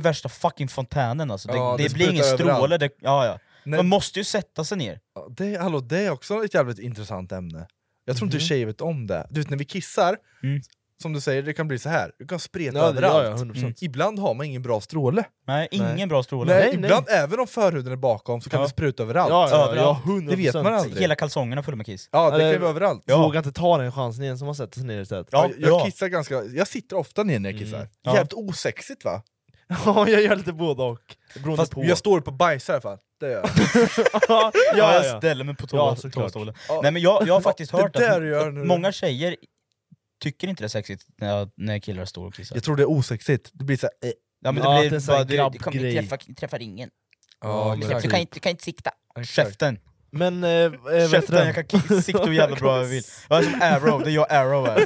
värsta fucking fontänen alltså. Det, Ja, det, det blir ingen sprutar överallt. stråle. Det, ja, ja. Nej. Man måste ju sätta sig ner. Ja, Det, hallå, det är också ett jävligt intressant ämne. Jag tror Mhm. Mm. inte tjejer vet om det. Du vet när vi kissar, som du säger, det kan bli så här. Du kan spreta Ja, det- ja, ja, överallt. 100%. Mm. Ibland har man ingen bra stråle. Nej, ingen bra stråle. Nej, Nej, nej. ibland, även om förhuden är bakom, så kan Ja. det spruta överallt. Ja, ja, ja, överallt. ja, det vet man 100%. aldrig. Hela kalsongerna fulla med kiss. Ja, det Eller- kan ju vara överallt. Ja. Vågar inte ta den chansen igen som man sätter sig ner istället. Ja, Mm. jag kissar ganska... Jag sitter ofta ner när jag kissar. Ja. Jävligt osexigt va? Ja, jag gör lite både och. Beroende Fast på. jag står upp och bajsar i alla fall. Det gör jag. ja, ja, jag ställer mig på Ja, toa- såklart. toastolen. Ja. Nej men jag, jag har faktiskt Det hört där du gör att nu. många tjejer tycker inte det är sexigt när, när killar står och kissar. Jag tror det är osexigt. Det blir så här, eh. Ja, men det blir bara, du, du kommer inte träffa, träffa ringen. Ja, du, exakt. kan, du, kan inte, du kan inte sikta. Exakt. Käften! Men... Eh, eh, vet du Käften, den? jag kan k- sikta hur jävla bra jag vill. Jag är som Arrow, det är jag Arrow är.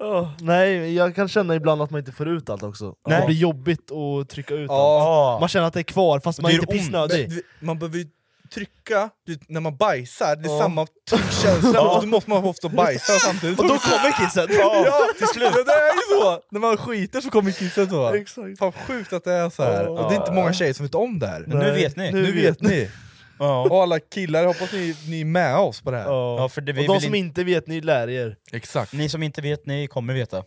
Åh, nej, jag kan känna ibland att man inte får ut allt också. Nej. Det blir jobbigt att trycka ut Ja. allt. Man känner att det är kvar fast man är inte Men pissnödig. du- Man behöver ju trycka du vet, när man bajsar, det är Ja. samma tryckkänsla, Ja. och då måste man ofta bajsa samtidigt. Och då kommer kisset. Ja, till slut! Det är ju så! När man skiter så kommer kisset. Så. Exakt. Fan sjukt att det är så här. Ja. Och det är inte många tjejer som vet om det här. Men nu vet ni. Nu, vet ni! Ja. Och alla killar, jag hoppas ni, ni är med oss på det här. Ja, för det, vi Och de vill som in- inte vet, ni lär er. Exakt. Ni som inte vet, ni kommer veta.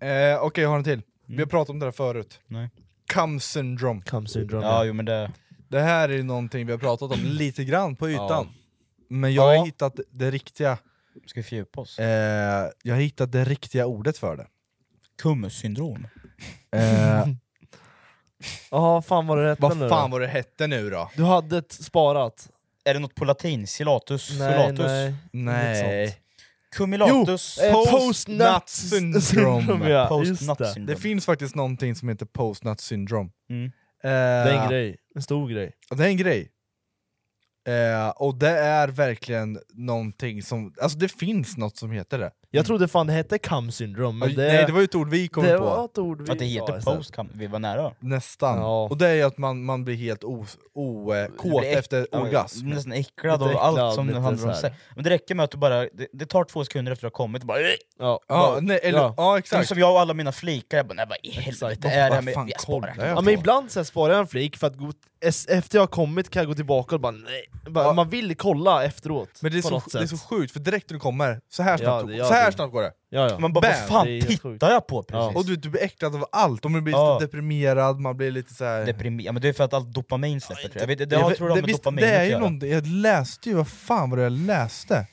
Eh, Okej, jag har en till. Vi Mm. har pratat om det här förut. Nej. Cum syndrome. Cum syndrome. Ja, jo men det... Det här är ju någonting vi har pratat om lite grann på ytan. Men jag har hittat det riktiga. Ska vi fördjupa oss? Eh, jag har hittat det riktiga ordet för det. Kummussyndrom. Eh, Jaha, fan vad det hette vad nu fan då? var det hette nu då? Du hade ett sparat. Är det något på latin? Silatus? Nej, Solatus? nej. Nej. Inget sånt. Cumulatus? Jo, eh, Post- post-nut syndrome. syndrome, ja. Post-nut Just det. syndrome. Det finns faktiskt någonting som heter post-nut syndrome. Mm. Eh, Det är en grej. En stor grej. Det är en grej. Eh, och det är verkligen någonting som... Alltså det finns något som heter det. Jag trodde fan det hette cum syndrome, men Ja, det... Mm. Nej, det var ju ett ord vi kom det på. Var ett ord vi Att det heter Ja, just post cum vi var nära. Nästan. Och det är ju att man, man blir helt okåt o, eh, Du kåt blir äck- efter ja, orgasm. Nästan äcklad Lite och allt äcklad, som lite handlar om så här. sex. Men det räcker med att du bara, det, det tar två sekunder efter att du har kommit, bara... Ja, Ja, bara- nej, eller, ja. Som- exakt. Som jag och alla mina flikar, jag bara nej vad i helvete Exakt. är det här Vad med... fan Jag sparar. Ja, men ibland så här sparar jag en flik för att gå, es- efter jag har kommit kan jag gå tillbaka och bara nej. Bara, Man vill kolla efteråt Men det är, på så, något det är sätt. så sjukt, för direkt när du kommer, så här Ja, snabbt, det gör så här det. snabbt går det. Ja, ja. Man bara vad fan Det är helt sjukt. tittar jag på precis? Ja. Och du, du blir äcklad av allt, och man blir Ja. lite deprimerad, man blir lite så här. Deprimerad, ja, men det är för att allt dopamin släpper tror jag. jag vet, det Jag har, vet- tror jag har med visst, dopamin det är att ju göra. någonting, jag läste ju, vad fan var det jag läste?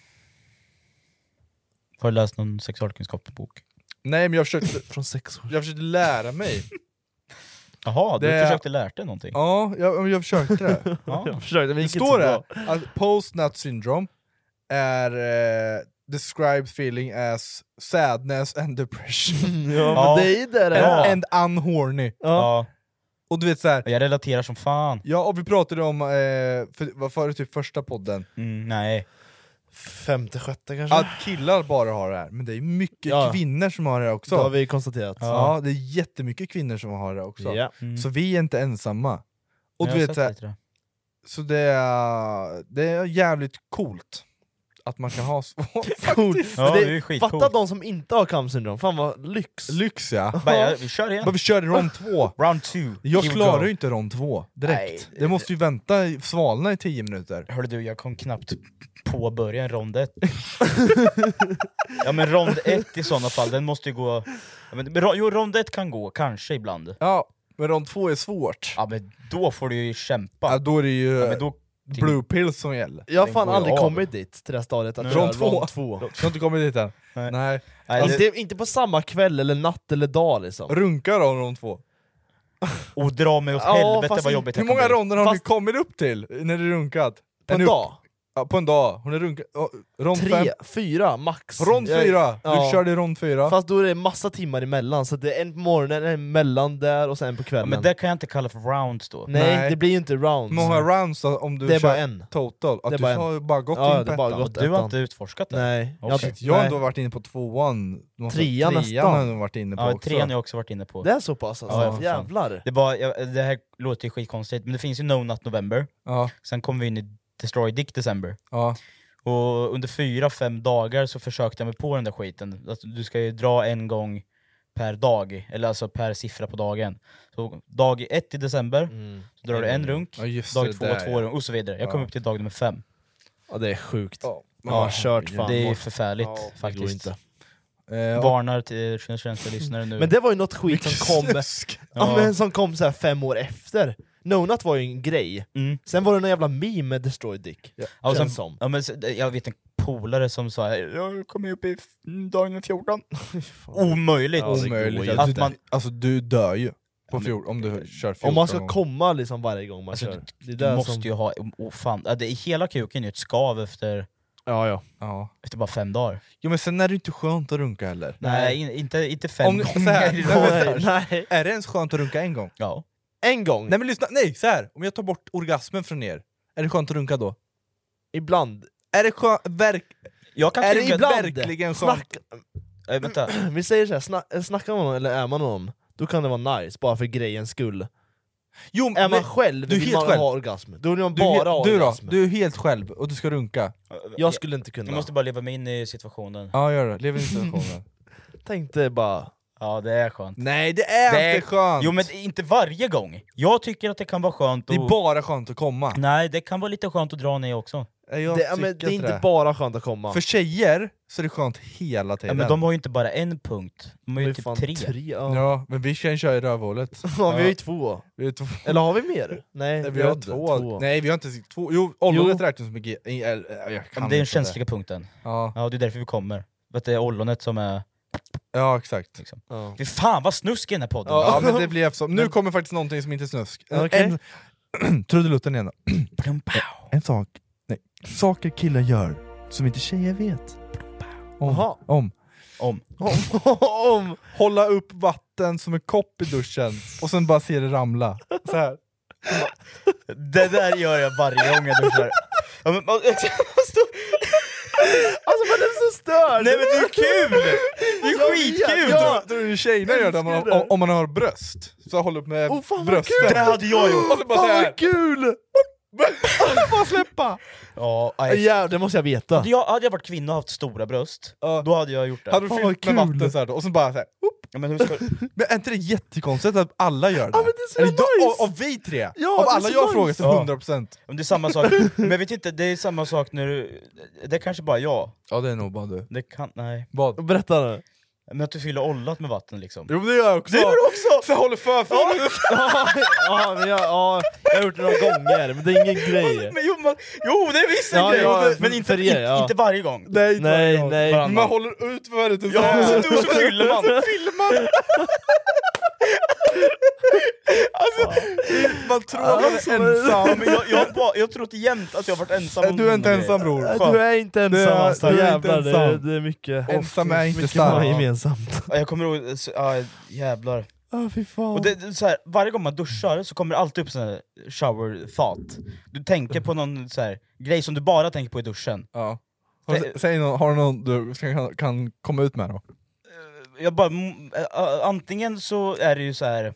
Har du läst någon sexualkunskapsbok? Nej men jag försökte, Från sex år. jag försökte lära mig. Jaha, du Det- försökte lära dig någonting? Ja, jag, jag försökte det. Ja. Jag försökte, men Det gick inte står så det bra. att post-nut syndrome är eh, described feeling as sadness and depression. Ja, Ja. men det är ju det det and, är. and unhorny. Ja. Och du vet så här, Jag relaterar som fan. ja och vi pratade om, eh, för, vad var det typ första podden? Mm, nej. Femte, sjätte kanske? Att killar bara har det här, men det är mycket Ja. kvinnor som har det också. Det har vi konstaterat. Ja, det är jättemycket kvinnor som har det också. Ja. Mm. Så vi är inte ensamma. Jag Och du har vet, sett så, här, lite det. så det, är, det är jävligt coolt att man kan ha så. Faktiskt. Men Fatta de som inte har Camp syndrome, fan vad lyx! Lyx ja! Bara, ja, vi kör igen. Bara, vi kör rond två! Round two! Jag Here we klarar go. ju inte rond två direkt. Nej. det måste ju vänta, i- svalna i tio minuter. Hörde du, jag kom knappt påbörja en rond ett. ja men rond ett i sådana fall, den måste ju gå... Ja, men, men ro- jo, rond ett kan gå, kanske ibland. Ja, men rond två är svårt. Ja men då får du ju kämpa. Ja, då är det ju Ja, men då- blue pills som gäller. Jag har Den fan går ju aldrig av. kommit dit, till det här stadiet att Nej. köra Rond två. rond två. Du har inte kommit dit än? Nej. Alltså, inte, inte på samma kväll eller natt eller dag liksom. Runka då rond två. Och dra mig åt helvete vad jobbigt Hur det kan många bli. ronder har Fast- du kommit upp till när du runkat? På en upp- dag? Ja, på en dag. Hon är runkat... ja, Rond Tre, fem. fyra max. Rond Jag- fyra! Du körde i rond fyra. Fast då är det massa timmar emellan, så det är en på morgonen, en mellan där och sen en på kvällen. men det kan jag inte kalla för rounds då. Nej, det blir ju inte rounds. Hur många rounds då, om du Det är kör bara en. total? Att Det är du bara en. har bara gått Ja, in det på är bara ettan. gått Du har ettan. inte utforskat det? Nej. Jag har Okej. inte- Oh, Jag har nej. ändå varit inne på tvåan, måste- Trean nästan. har jag varit inne på Ja, också. trean har jag också varit inne på. Det är så pass alltså? fan. Jävlar. Det, var, jag, det här låter ju skitkonstigt, men det finns ju No Nut November, ja. sen kom vi in i Destroy Dick December. Ja. Och under fyra, fem dagar så försökte jag mig på den där skiten. Alltså, du ska ju dra en gång per dag, eller alltså per siffra på dagen. Så dag ett i december, så drar du en runk, Ja, just dag det, två, där, två ja. runk och så vidare. Jag kom Ja. upp till dag nummer fem. Ja, det är sjukt. Ja, Ja, kört fan. Det är förfärligt Ja, det går faktiskt. inte. Eh, Varnar till sina svenska lyssnare nu. Men det var ju något skit som kom, ja, Ja. men som kom så här fem år efter. Nonat var ju en grej, sen var det någon jävla meme med Destroy Dick. Ja, och Känns sen, som. ja, men, sen- jag vet en polare som sa jag kom ju upp i f- dagen 14. Omöjligt! Omöjligt. Att man, alltså du dör ju på fjol, om du kör 14 Om man ska gånger. komma liksom varje gång man kör. Det är du där måste som- ju ha ofant... ja, det, hela kuken är ju ett skav efter, ja, ja. efter bara fem dagar. Jo men sen är det ju inte skönt att runka heller. Nej, in, inte, inte fem Om, gånger. så här, nej, men så här, nej. Är det ens skönt att runka en gång? Ja. En gång? Nej men lyssna, nej så här. om jag tar bort orgasmen från er, är det skönt att runka då? Ibland. Är det skönt, verk, jag kan är det tycka- verkligen skönt? Snack, Äh, vänta. Vi säger såhär, sna eh, snackar man någon eller är man någon, då kan det vara nice, bara för grejens skull. Jo, är man men- själv du är vill helt man själv. ha orgasm, då vill man Du, är bara he- ha du då? orgasm. Du är helt själv och du ska runka? Jag skulle inte kunna. Jag måste bara leva mig in i situationen. Ja gör det, lev in i situationen. Tänkte bara... Ja det är skönt. Nej det är inte skönt! Jo men det är inte varje gång. Jag tycker att det kan vara skönt Det är bara skönt att komma. Nej, det kan vara lite skönt att dra ner också. Nej, jag Det- ja, men tycker det är inte det. bara skönt att komma. För tjejer så är det skönt hela Ja, tiden. men de har ju inte bara en punkt, de har Det är ju typ fan tre. tre, ja. ja. men vi kan köra i rövhålet. Ja, vi har ju två. Vi har två. Eller har vi mer? Nej, Nej, vi vi har har inte. två. Två. Nej, vi har inte två. Jo, ollonet räknas som en G. i- eller, Jag Ja, kan men inte det är den känsliga punkten. Ja. det är därför vi kommer. Vet du, det är ollonet som är... Ja, exakt. Liksom. Ja. Fy fan vad snusk i den här podden! Ja, men det blir eftersom. Nu kommer faktiskt någonting som inte är snusk. Okej. En, trudelutten igen då. En sak, nej, saker killar gör som inte tjejer vet. Om, Jaha. om. Om. om. Hålla upp vatten som en kopp i duschen och sen bara se det ramla. Så här. Det där gör jag varje gång jag duschar. Ja, men, Alltså man är så störd! Nej men det är kul! Det Alltså, är skitkul! Tror- Tror du tjejerna gör det om man, om, om man har bröst? Så håller upp med fan vad brösten. kul! Det hade jag gjort. Och så bara Fan så här. vad kul! Bara släppa! Ja, nej. Ja, det måste jag veta. Hade jag, hade jag varit kvinna och haft stora bröst, då hade jag gjort det. Hade du Fan, fyllt vad med kul. vatten såhär då, och sen bara såhär... Ja, men hur ska... Men är inte det jättekonstigt att alla gör det? Ja, men det är så Eller då- nice. av, av vi tre! Ja, av det är alla så jag nice. frågar så Ja. 100%. Men det är samma sak, men jag vet inte, det är samma sak när du... Det är kanske bara jag. Ja det är nog bara du. Det kan... Nej. Vad? Berätta nu. Men att du fyller ollat med vatten liksom. Jo men det gör jag också! Det gör du också! Så jag håller för för ja, ja, men jag, ja, jag har gjort det några gånger, men det är ingen grej. Men jo, man, jo, det är visst en Ja, grej! ja, men inte, för er, ja. inte varje gång. Nej, Nej, tvärtom. nej. Men Man håller ut för det så Ja, här. så, så fyller man. Alltså, Man tror att man är Ja, ensam. men jag, jag, har bara- jag har trott jämt att jag har varit ensam. om Du är någon inte grej. ensam bror. Du är inte Du är- ensam alltså, du är inte jävlar. Det är, ensam. det är mycket, Ensam är inte mycket man har stark. gemensamt. Ja, Jag kommer ihåg, så, ja, jävlar. Ah, fy fan. Och det, det, är så här, varje gång man duschar så kommer det alltid upp sån här shower thought. Du tänker på någon så här, grej som du bara tänker på i duschen. Ja. Har du, säg någon, har du någon du kan, kan komma ut med då? jag bara, m- ä- ä- antingen så är det ju så här.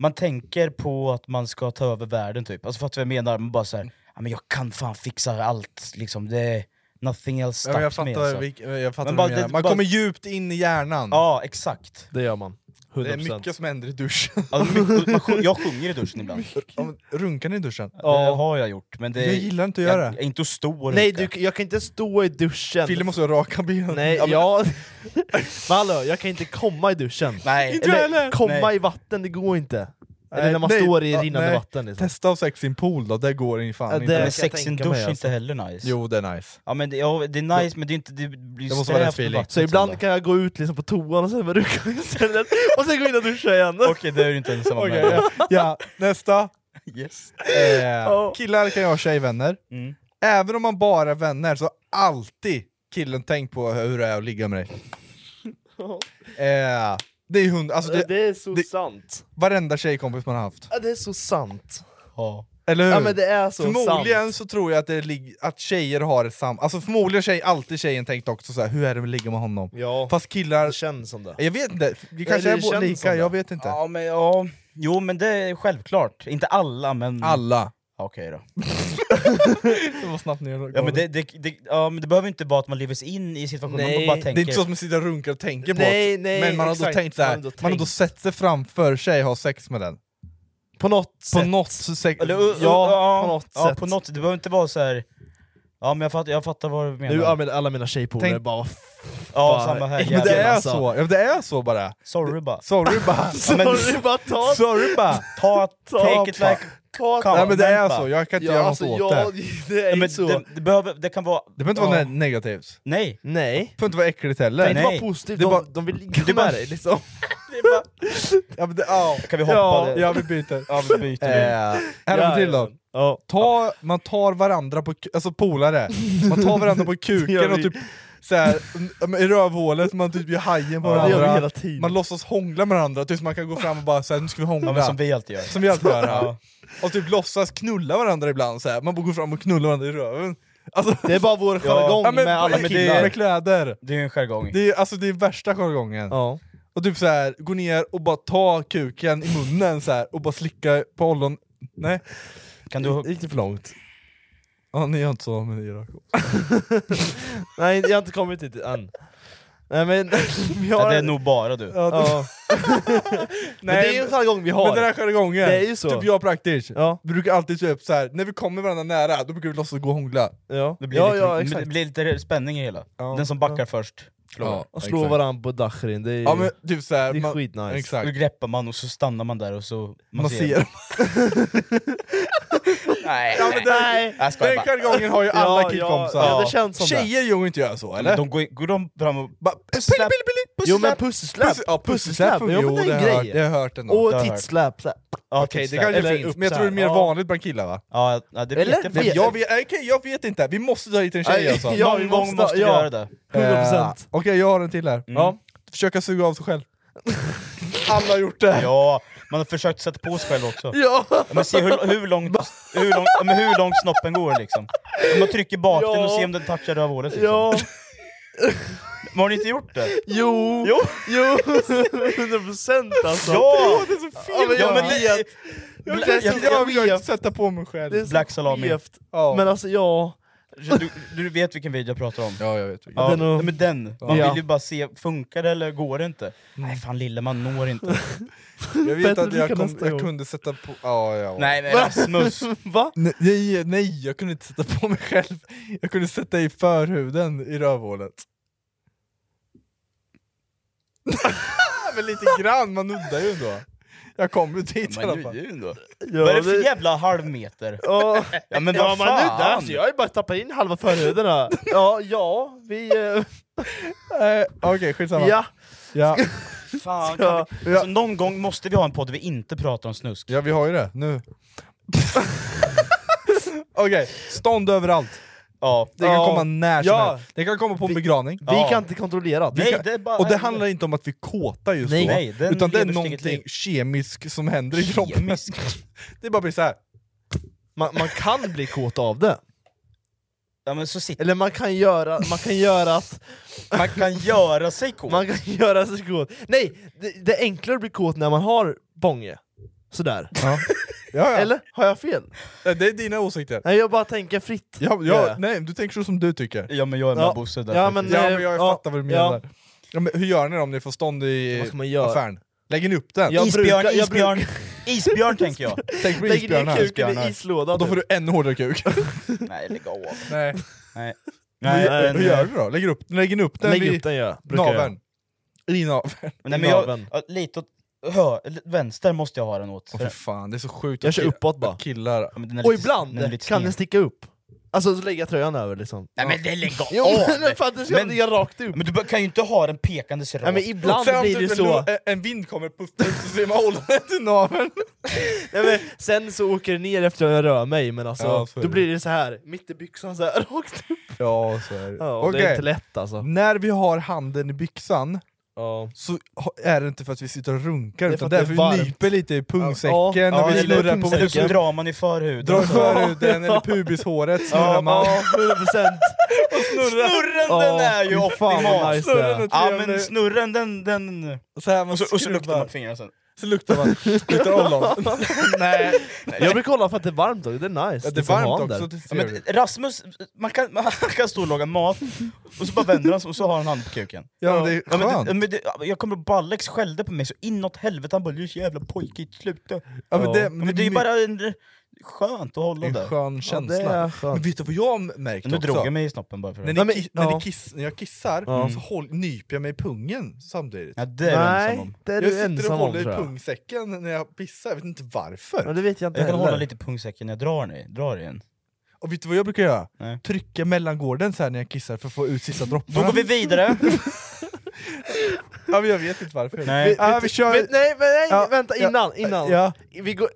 man tänker på att man ska ta över världen typ, alltså fattar du vad jag menar? Man bara så här, ja, men jag kan fan fixa allt liksom, det är nothing else Ja, men jag stops me, fattar alltså. vilk- jag fattar Men vad du menar. det- Man kommer djupt in i hjärnan. Ja, exakt. Det gör man. Det är mycket som händer i duschen. Ja, mycket- man sjung- jag sjunger i duschen ibland. Ja, men Runkar ni i duschen? Ja, det har jag gjort. Men det, Jag gillar inte att göra jag, det. jag är inte att stå och Nej, runka. du, jag kan inte stå i duschen. Fille måste raka benen. Nej, Ja, men- jag... men hallå, jag kan inte komma i duschen. Nej. Inte jag heller. Eller komma Nej. i vatten, det går inte. Nej, Eller när man nej, står i ja, rinnande nej. vatten. Liksom. Testa och sex i en pool då, det går in fan Ja, det inte. kan Men sex i en dusch är inte heller nice. alltså. Jo, det är nice. Ja, men det, ja, det är nice, men det, är inte, det blir ju Det måste vara strävt rätt på feeling. vattnet Så sen ibland då. kan jag gå ut liksom på toan och sen bara rucka istället, och sen gå in och duscha igen. Okej, det är du inte ensam om. Okej, här. ja. Eh, ja, nästa! Yes. Oh. Mm. Eh, killar kan ju ha tjejvänner. Även om man bara är vänner så har alltid killen tänkt på hur det är att ligga med dig. Eh, det är hund, alltså det, är så sant. Varenda tjejkompis man har haft. Ja, det är så sant. Ja. Eller hur? Ja, men det är så förmodligen så tror jag att, det lig- att tjejer har ett sam... Alltså förmodligen tjej, alltid tjejen tänkt också så här, hur är det att ligga med honom? Ja. Fast killar... Det känns som det. Jag vet inte, vi kanske är båda lika, jag vet inte. Ja, men, ja. Jo men det är självklart, inte alla men... Alla. Mm. Okej då. Det var snabbt ner Ja men det, det, det, ja men det behöver inte vara att man lever sig in i situationen, man bara tänker... Det är inte så att man sitter och runkar och tänker på Nej, att, nej, Men man har exakt. då tänkt så här, Man man, har då har då tänkt. sett sig framför sig ha sex med den. På något På sätt. något sätt. Eller, uh, uh, Ja, på något ja, sätt. på något sätt. Det behöver inte vara så här. Ja men jag fattar, jag fattar vad du menar. Nu använder alla mina tjejpolare Tänk- bara vad ja, fan, samma här. ah, Men det jävlar, är alltså. så, ja, det är så bara. Sorry bara. Sorry bara. Ja, men- Sorry, bara ta... Sorry bara. Ta, take it bara. like... ta Nej men det är Comment, så, va? jag kan inte Ja, göra något alltså, åt ja, det. det är Ja, ju men så. det, det, behöver, det kan vara... Det behöver inte vara Ja. ne- negativt. Nej! Nej. Det behöver inte vara äckligt Det heller. är inte bara positivt, Det de, är bara- de vill ligga det är med bara- dig liksom. Ja, men det, ja. Kan vi hoppa ja, det? ja, vi byter. Ja, vi byter. Eh, här har vi till då. Ta, man tar varandra på, ku- alltså polare, man tar varandra på gör kuken vi. och typ så här, m- i rövhålet, man typ gör hajen på Ja, det gör vi varandra. hela tiden. Man låtsas hångla med varandra tills man kan gå fram och bara säga nu ska vi hångla. Ja, men som vi alltid gör. Som vi alltid gör. Ja. Ja. Och typ låtsas knulla varandra ibland, så här. man bara går fram och knullar varandra i röven. Alltså, Det är bara vår jargong men med alla på- killar. Med kläder. Det är ju en jargong. Det är, alltså, det är värsta jargongen. Ja. Och typ så här, gå ner och bara ta kuken i munnen så här, och bara slicka på ollon... Nej. Kan du... Det gick det för långt? Ja, ni har inte så med Irak. Nej, jag har inte kommit dit än. Nej men vi har... Ja, det är nog bara du. Ja, Ja. men det är ju en jargong vi har. Men den här jargongen, Det är ju så. typ jag och praktiskt, Ja. vi brukar alltid typ så här, när vi kommer varandra nära, då brukar vi låtsas gå och hångla. Ja, Det blir, ja, lite, ja men exakt. det blir lite spänning i hela. Ja. Den som backar först Ja, förlorar. Och slå exakt. varandra på dachrin, det är ju... Ja men typ så här, Det är man, skitnice. Exakt. Då greppar man och så stannar man där och så... Man, Man ser. Nej, Ja, men den, Nej. Jag skojar den bara. jargongen har ju alla Ja, killkompisar. ja, ja, det känns som det. Tjejer gör ju inte göra så, eller? Eller? De går, går de fram och... Bara, pille, pille, pille, Jo men pussesläpp. pusselsläpp! Puss- ja, pusselsläpp. Jo men det är en har jag hört- grej! Det har jag hört ändå. Och har jag hört. tittsläpp! så här. Ja, Okej, typ så det här. kanske Eller finns, upp men jag så tror det är här. mer Ja. vanligt bland killar va? Ja, ja, det Eller? vet jag Vet- faktiskt. Jag vet, okay, jag vet inte, vi måste dra hit en tjej alltså! Ja, vi Någon gång måste- måste vi ja. göra det. 100%. Eh, Okej, jag har en till här. Ja. Försöka suga av sig själv. Alla har gjort det! Ja, man har försökt sätta på sig själv också. Ja! Ja, men se hur, hur, långt, hur, långt, ja, men hur långt snoppen går liksom. Om man trycker bak den och Ja. ser om den touchar rövhålet liksom. Ja! Men har ni inte gjort det? Jo! Jo. Jo! 100% alltså! Ja! Det är så fel! Ja, men jag Ja, men det- vet! jag, jag- jag, jag försöker vet. sätta på mig själv. Det är så Black salami. skevt. Ja. Men alltså ja... Du, du vet vilken video jag pratar om? ja, jag vet. vilket. Ja, Den och- nej, men den. Man Ja. Mm. vill ju bara se, funkar det eller går det inte? Nej fan lille, man når inte. Jag vet Bättre att jag, lycka kom, nästa jag gång. kunde sätta på... Ja, ja. Nej men Rasmus! Va? Nej, Nej, nej, jag kunde inte sätta på mig själv. Jag kunde sätta i förhuden i rövhålet. men lite grann, man nuddar ju ändå. Jag kom ju dit i Men alla nu- fall. nu ändå. Ja, Vad är det för jävla halvmeter? Ja, Ja men ja vad man nu där, fan! alltså, jag har ju bara tappat in halva förhuden här. Ja, ja, vi... eh, Eh, Okej, skitsamma. Ja, Ja. Fan, kan Ja. vi, alltså, någon gång måste vi ha en podd där vi inte pratar om snusk. ja, vi har ju det nu. Okej, stånd överallt. Ja. Det kan Ja. komma när som Ja. helst. Det kan komma på en begravning. vi kan inte kontrollera det. Nej, det är bara, Och det handlar inte om att vi är kåta just Nej, då, nej, den utan det är lever sitt eget någonting liv. kemiskt som händer i kroppen. det bara blir så här. Man, man kan bli kåt av det. Eller man kan göra, man kan göra att... man kan göra sig kåt. Man kan göra sig kåt. Nej, det, det är enklare att bli kåt när man har bånge. Sådär. Eller? Har jag fel? Det är dina åsikter. Nej, jag bara tänker fritt. Ja, Gör ja, jag. nej, du tänker så som du tycker. Ja men jag är med Bosse där Ja men, faktiskt. Ja, ja, men jag ja, fattar vad du ja. menar. Ja, men hur gör ni då om ni får stånd i Vad ska man göra? affären? Lägger ni upp den? Jag Isbjörn, brukar- jag isbjörn. brukar- Isbjörn tänker jag. Tänk på Lägger ner isbjörnar. kuken i Isbjörnar. islådan, Och Då får du typ. ännu hårdare kuk. Nej lägg av. Nej. Nej. Nej, hur, men- hur gör du då? Lägger upp, lägger ni upp den Lägger vid upp den, ja. Brukar jag. naveln? I naveln? Nej, men jag, ja, lite åt hö, eller vänster måste jag ha den åt. Åh, fy fan, det är så sjukt Jag att kör kill- uppåt bara. att Killar. Och ibland kan den sticka upp. Alltså så lägger jag tröjan över liksom. Nej men det lägg av! Jo, men för att det ska Men- ligga rakt upp. Men du kan ju inte ha den pekandes rakt. Nej, men ibland Sen om blir typ det ju en så. lo- en- En vind kommer, puff, puff, så ser man hålla den till naveln. Nej, men sen så åker det ner efter att jag rör mig, men alltså, Ja, så är då det. blir det så här mitt i byxan så här rakt upp. Ja, så är det. Ja, och det är Okej. inte lätt, alltså. När vi har handen i byxan så ha- är det inte för att vi sitter och runkar, Det är utan för det är att för det är att vi varmt. nyper lite i pungsäcken, Ja, ja, och vi eller snurrar på pungsäcken. pungsäcken. Så drar man i förhuden. Drar i Ja. förhuden eller pubishåret snurrar Ja, man. ja, 100%. Snurren, Snurren Ja, den är ju fy fan, vad optimal! nice det är. Snurren är ja men trevlig. snurren den... den... Så här man och, så, och så luktar skruvar. man på fingrarna sen. Så luktar man. Luktar ollon. Nej. Jag brukar kolla för att det är varmt då, det är nice. Ja, det är får varmt ha den också, där. det är Ja, men Rasmus, man kan, man kan stå och laga mat, och så bara vänder han sig och så har han handen på kuken. Ja, men det är men skönt. det- men det- jag kommer ihåg Ballex skällde på mig så inåt helvete, han bara 'Du är så jävla pojkigt, sluta' Ja, men det- Ja, men det är ju bara en, skönt att hålla En där. skön känsla. Men vet du vad jag märkt Nu också? drog jag mig i snoppen bara för När, det. ni, men, ki- när, ja. ni kiss, när jag kissar Ja. så håll, nyper jag mig i pungen samtidigt. Ja, det är du Nej, ensam om. det är jag du sitter ensam och om, håller i tror jag. pungsäcken när jag pissar, jag vet inte varför. Ja, det vet jag inte jag kan heller. hålla lite i pungsäcken när jag drar, ni, drar igen. Och vet du vad jag brukar göra? Nej. Trycka mellangården så här när jag kissar för att få ut sista dropparna. Då går vi vidare! ja, men jag vet inte varför. Nej. Ja, vi kör... Men, nej, men, nej Ja, vänta, ja, innan! innan. ja. Vi går,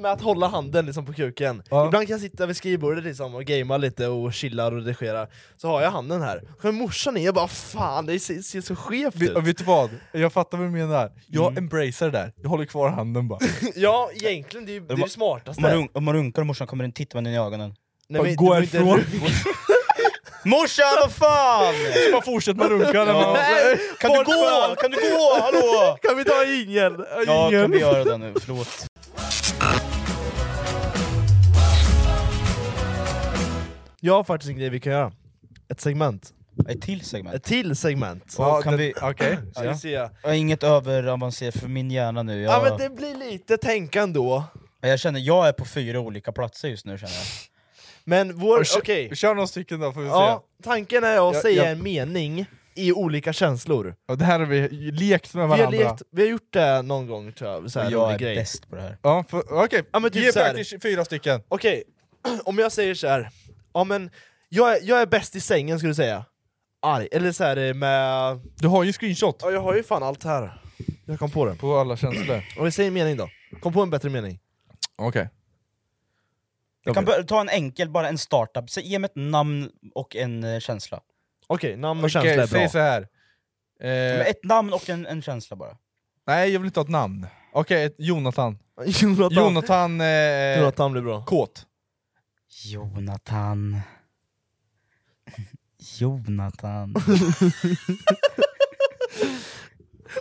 med att hålla handen liksom på kuken. Ibland kan jag sitta vid skrivbordet liksom och gamea lite och chilla och redigera, så har jag handen här. Så kommer morsan in, jag bara 'Fan, det ser, ser så skevt Vet, ut' och vet du vad? Jag fattar vad du menar. Jag Mm. embracear det där, jag håller kvar handen bara. Ja, egentligen, det är ju det, är det Om man, smartaste. runk- om man runkar och morsan kommer in, tittar man in i ögonen. Nej, men du Gå vill inte härifrån. runka. Morsan vad fan! Så bara fortsätter man runka. när man- Nej, Kan du bort med gå? allt. Kan du gå? Hallå? Kan vi ta en jingel? En Ja, jingel. kan vi göra det nu? Förlåt. Jag har faktiskt en grej vi kan göra. Ett segment. Ett till segment. Ett till segment. Och kan vi... Okej. Ska vi se. Ja. Jag har inget överavancerat för min hjärna nu. Jag, men det blir lite tänkande då. jag känner, jag är på fyra olika platser just nu känner jag. Men vår... kö- Okej. Kör några stycken då får vi Ja, se. tanken är att Ja, säga ja. en mening i olika känslor. Och det här har vi lekt med Vi har, varandra. lekt, vi har gjort det någon gång tror jag, så här Och jag rolig är grej. bäst på det här. Ja, för- Okej, Ja, men typ ge så här. praktiskt fyra stycken. Okej, om jag säger så här. ja men jag är, jag är bäst i sängen skulle du säga. Arg, eller så här eh, med... Du har ju screenshot Ja jag har ju fan allt här. Jag kom på det. på alla känslor. Om vi säger en mening då. Kom på en bättre mening. Okej. Jag kan börja- ta en enkel, bara en startup. Så ge mig ett namn och en eh, känsla. Okej, namn och känsla Okej, är bra. säg så här. Men Eh, ett namn och en, en känsla bara. nej, jag vill inte ha ett namn. Okej, ett Jonathan. Jonathan. Jonathan... Eh, Jonathan blir bra. Kåt. Jonathan... Jonathan...